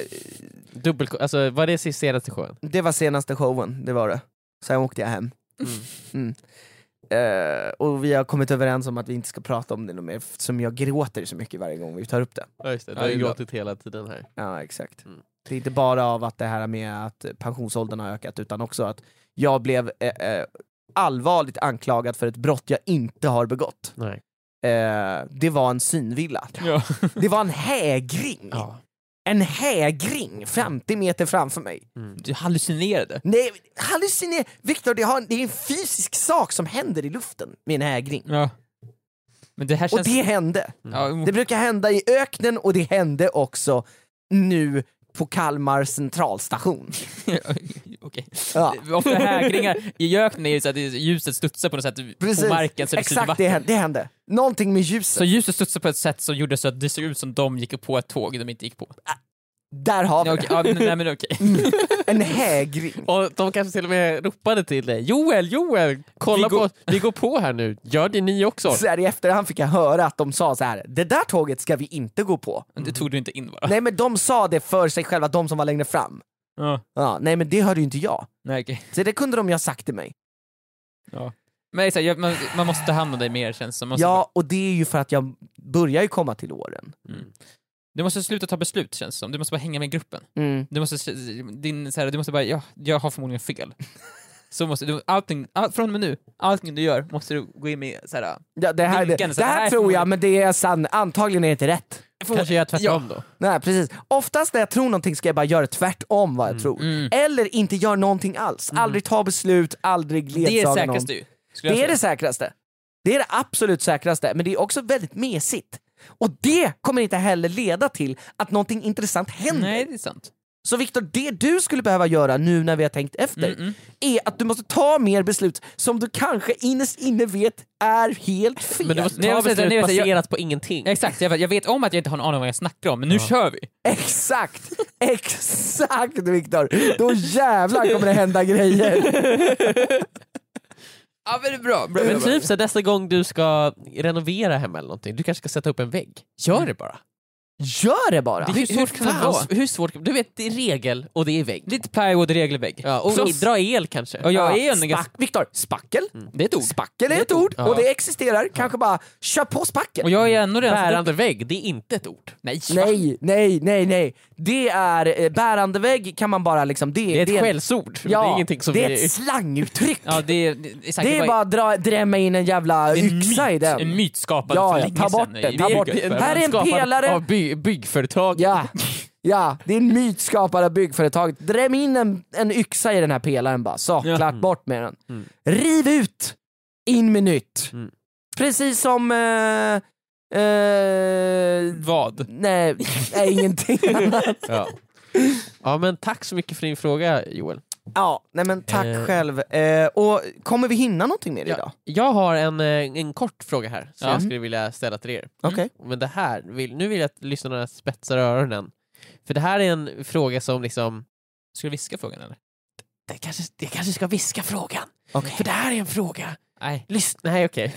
Speaker 2: Dubbel, alltså, var det sist senaste showen?
Speaker 4: det var senaste showen, det var det. Sen åkte jag hem. Mm. Eh, och vi har kommit överens om att vi inte ska prata om det något mer eftersom jag gråter så mycket varje gång vi tar upp det.
Speaker 2: Ja just det,
Speaker 3: du har ju gråtit
Speaker 2: hela tiden här.
Speaker 4: Ja, exakt.
Speaker 2: Mm.
Speaker 4: Det är inte bara av att det här med att pensionsåldern har ökat utan också att jag blev eh, eh, allvarligt anklagad för ett brott jag inte har begått.
Speaker 2: Nej.
Speaker 4: Eh, det var en synvilla.
Speaker 3: Ja.
Speaker 4: Det var en hägring.
Speaker 2: Ja.
Speaker 4: en hägring 50 meter framför mig.
Speaker 3: Du hallucinerade.
Speaker 4: Nej, hallucinera! Viktor, det, har- det är en fysisk sak som händer i luften med en hägring.
Speaker 3: Ja. Men det här
Speaker 4: Och
Speaker 3: känns...
Speaker 4: det hände.
Speaker 3: ja, mm.
Speaker 4: Det brukar hända i öknen och det hände också nu på Kalmar centralstation.
Speaker 3: Okej.
Speaker 4: Ja.
Speaker 3: Ofta hägringar i öknen är ju så att det- ljuset studsar på något sätt
Speaker 4: Precis.
Speaker 3: på marken så det syns
Speaker 4: Exakt,
Speaker 3: vatten.
Speaker 4: det hände, det hände. Någonting med ljuset.
Speaker 3: Så ljuset studsar på ett sätt som gjorde så att det såg ut som de gick på ett tåg de inte gick på.
Speaker 4: Där har vi
Speaker 3: Ja, okej. Ja, men- nej men okej.
Speaker 4: det. En hägring.
Speaker 2: Och de kanske till och med ropade till dig. Joel, Joel, kolla
Speaker 3: Vi går-
Speaker 2: på oss. Vi går på här nu. Gör det ni också.
Speaker 4: Så här, I efterhand fick jag höra att de sa så här. det där tåget ska vi inte gå på.
Speaker 3: Det tog du inte in bara.
Speaker 4: Mm. Nej men de sa det för sig själva, de som var längre fram.
Speaker 3: Ja.
Speaker 4: Ja, nej men det hörde ju inte jag.
Speaker 3: Nej, okej.
Speaker 4: Så det kunde de ju ha sagt till mig.
Speaker 3: Men det är så här, jag- man, man måste ta hand om dig mer känns det som. Man måste-
Speaker 4: Ja, och det är ju för att jag börjar ju komma till åren.
Speaker 3: Du måste sluta ta beslut känns det som. Du måste bara hänga med gruppen.
Speaker 4: Mm.
Speaker 3: Du måste, din, så här, du måste bara, ja, jag har förmodligen fel. Så måste du, allting, all, från och med nu, allting du gör måste du gå in med så här,
Speaker 4: Ja, det, här, det,
Speaker 3: Vinkeln, så
Speaker 4: det
Speaker 3: det här
Speaker 4: här
Speaker 3: är
Speaker 4: tror jag,
Speaker 3: förmodligen-
Speaker 4: men det är sant. Antagligen är det inte rätt.
Speaker 2: Kanske gör tvärtom då.
Speaker 4: Nej, precis. Oftast när jag tror någonting ska jag bara göra tvärtom
Speaker 3: Mm.
Speaker 4: vad jag tror. Eller inte göra någonting alls. Aldrig ta beslut, aldrig
Speaker 3: det är
Speaker 4: ledsaga
Speaker 3: det
Speaker 4: någon.
Speaker 3: säkraste ju. skulle jag
Speaker 4: Det är
Speaker 3: säga.
Speaker 4: det säkraste. Det är det absolut säkraste, men det är också väldigt mesigt. Och det kommer inte heller leda till att någonting intressant händer.
Speaker 3: Nej, det är sant.
Speaker 4: Så Viktor, det du skulle behöva göra nu när vi har tänkt efter
Speaker 2: Mm,
Speaker 4: är att du måste ta mer beslut som du kanske innerst inne vet är helt fel.
Speaker 2: Men du måste
Speaker 3: Nej,
Speaker 2: ta
Speaker 3: jag måste-
Speaker 2: beslut
Speaker 3: nej, jag måste- jag-
Speaker 2: baserat på ingenting.
Speaker 3: Exakt, jag, vet- jag vet om att jag inte har en aning om vad jag snackar om, men nu kör vi!
Speaker 4: Exakt! Exakt Viktor! Då jävlar kommer det hända grejer.
Speaker 3: Ja men det är bra, bra,
Speaker 2: Men typ så här, nästa gång du ska renovera hemma eller någonting, du kanske ska sätta upp en vägg. Gör det bara.
Speaker 4: Gör det bara!
Speaker 3: Det- Hur svårt kan det vara?
Speaker 2: Hur svårt, du vet, det är regel och det är vägg.
Speaker 3: Lite plywood regelvägg.
Speaker 2: Ja, och
Speaker 3: Så-
Speaker 2: dra el kanske.
Speaker 3: och jag är en
Speaker 4: Spack,
Speaker 3: ganska...
Speaker 4: Viktor, spackel?
Speaker 2: Mm.
Speaker 3: Det är ett ord.
Speaker 4: Spackel är ett ord
Speaker 2: Ja.
Speaker 4: och det existerar. Kanske bara kör på spackel.
Speaker 3: Och jag är ändå redan...
Speaker 2: Bärande vägg, det är inte ett ord.
Speaker 3: Nej,
Speaker 4: Nej, nej, nej, nej. Det är eh, bärande vägg kan man bara liksom... Det,
Speaker 2: Det är ett
Speaker 4: en-
Speaker 2: skällsord.
Speaker 4: Ja,
Speaker 2: det är ingenting som
Speaker 4: det är
Speaker 2: vi-
Speaker 4: ett slanguttryck.
Speaker 3: Ja, det är, det är, säkert
Speaker 4: det är bara att dra, drämma in en jävla
Speaker 3: en
Speaker 4: yxa i
Speaker 3: myt,
Speaker 4: den.
Speaker 3: en myt skapad
Speaker 4: Ja,
Speaker 3: för
Speaker 4: ja,
Speaker 3: länge
Speaker 4: ta bort
Speaker 3: sedan
Speaker 4: den,
Speaker 3: i
Speaker 4: ta bort
Speaker 3: bygget.
Speaker 4: den. Här är en
Speaker 2: skapad
Speaker 4: pelare.
Speaker 2: Av by, byggföretag.
Speaker 4: Ja. ja, det är en myt skapad av byggföretaget. Dräm in en, en yxa i den här pelaren bara, så
Speaker 3: Ja.
Speaker 4: klart bort med den. Riv ut, in med nytt.
Speaker 2: Mm.
Speaker 4: Precis som... Eh, eh,
Speaker 3: Vad?
Speaker 4: nej, nej, ingenting annat.
Speaker 2: Ja. ja, men tack så mycket för din fråga Joel.
Speaker 4: Ja, nej men tack
Speaker 2: Eh.
Speaker 4: själv. Eh, och kommer vi hinna någonting mer idag?
Speaker 2: Jag har en, eh, en kort fråga här som
Speaker 3: Ja.
Speaker 2: jag skulle vilja ställa till er.
Speaker 4: Okej.
Speaker 2: Men det här, vill, nu vill jag att lyssnarna spetsar öronen. För det här är en fråga som liksom...
Speaker 3: Ska du viska frågan eller?
Speaker 2: Jag kanske, jag kanske ska viska frågan.
Speaker 4: Okej.
Speaker 2: För det här är en fråga.
Speaker 3: Nej.
Speaker 2: Lys- nej okej.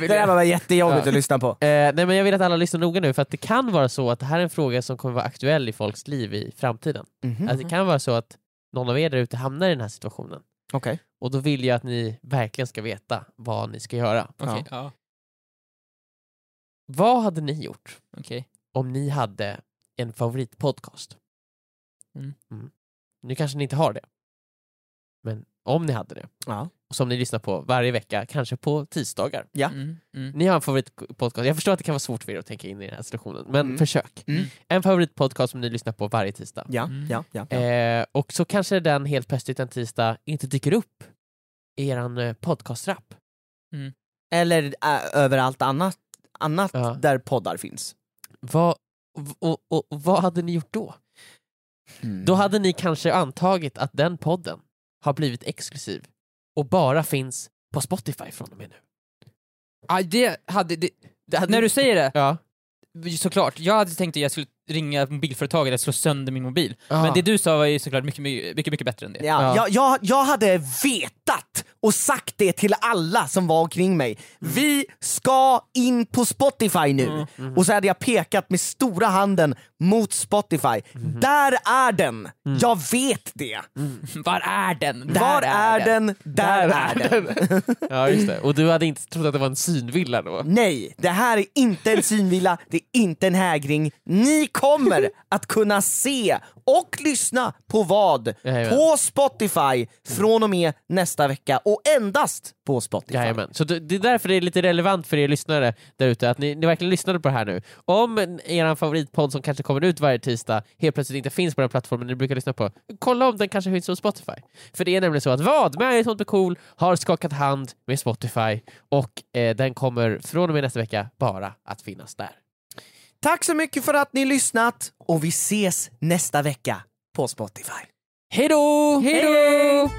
Speaker 4: Det där var jättejobbigt
Speaker 2: Ja.
Speaker 4: att lyssna på.
Speaker 2: Eh, nej men jag vill att alla lyssnar noga nu för att det kan vara så att det här är en fråga som kommer vara aktuell i folks liv i framtiden.
Speaker 4: Mhm.
Speaker 2: Att det kan vara så att någon av er där ute hamnar i den här situationen.
Speaker 4: Okej.
Speaker 2: Och då vill jag att ni verkligen ska veta vad ni ska göra.
Speaker 3: Okej. Ja.
Speaker 2: Vad hade ni gjort
Speaker 3: Okej.
Speaker 2: om ni hade en favoritpodcast?
Speaker 3: Mm.
Speaker 2: Nu kanske ni inte har det. Men om ni hade det,
Speaker 4: Ja.
Speaker 2: och som ni lyssnar på varje vecka, kanske på tisdagar.
Speaker 4: Ja.
Speaker 3: Mm, mm.
Speaker 2: Ni har en favoritpodcast, jag förstår att det kan vara svårt för er att tänka in i den här situationen, men
Speaker 4: Mm.
Speaker 2: försök.
Speaker 4: Mm.
Speaker 2: En favoritpodcast som ni lyssnar på varje tisdag.
Speaker 4: Ja,
Speaker 3: Mm.
Speaker 4: ja, ja.
Speaker 2: Eh, och så kanske den helt plötsligt en tisdag inte dyker upp i eran eh, podcastrapp.
Speaker 4: Eller eh, överallt annat, annat
Speaker 2: Ja.
Speaker 4: där poddar finns.
Speaker 2: Vad, och, och, och, vad hade ni gjort då?
Speaker 4: Mm.
Speaker 2: Då hade ni kanske antagit att den podden har blivit exklusiv och bara finns på Spotify från och med nu.
Speaker 3: Ah, det hade... Det, när du säger det,
Speaker 2: Ja.
Speaker 3: såklart. Jag hade tänkt att jag skulle ringa mobilföretaget eller slå sönder min mobil. Men det du sa var ju såklart mycket, mycket, mycket, mycket bättre än det.
Speaker 4: Ja, Jag, jag, jag hade vetat och sagt det till alla som var omkring mig. Vi ska in på Spotify nu! Och så hade jag pekat med stora handen mot Spotify. Där är den! Jag vet det!
Speaker 3: Var är den? Där
Speaker 4: Var är den? Där, är den!
Speaker 2: ja, just det. Och du hade inte trott att det var en synvilla då?
Speaker 4: Nej, det här är inte en synvilla, det är inte en hägring. Ni kommer att kunna se och lyssna på vad?
Speaker 2: Jajamän.
Speaker 4: På Spotify från och med nästa vecka och endast på Spotify.
Speaker 2: Jajamän. Så det det är därför det är lite relevant för er lyssnare där ute, att ni, ni verkligen lyssnade på det här nu. Om er favoritpodd som kanske kommer ut varje tisdag helt plötsligt inte finns på den plattformen ni brukar lyssna på, kolla om den kanske finns på Spotify. För det är nämligen så att vad med Sånt med cool har skakat hand med Spotify och eh, den kommer från och med nästa vecka bara att finnas där.
Speaker 4: Tack så mycket för att ni lyssnat och vi ses nästa vecka på Spotify.
Speaker 3: Hej då! Hej då!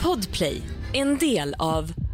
Speaker 5: Podplay, en del av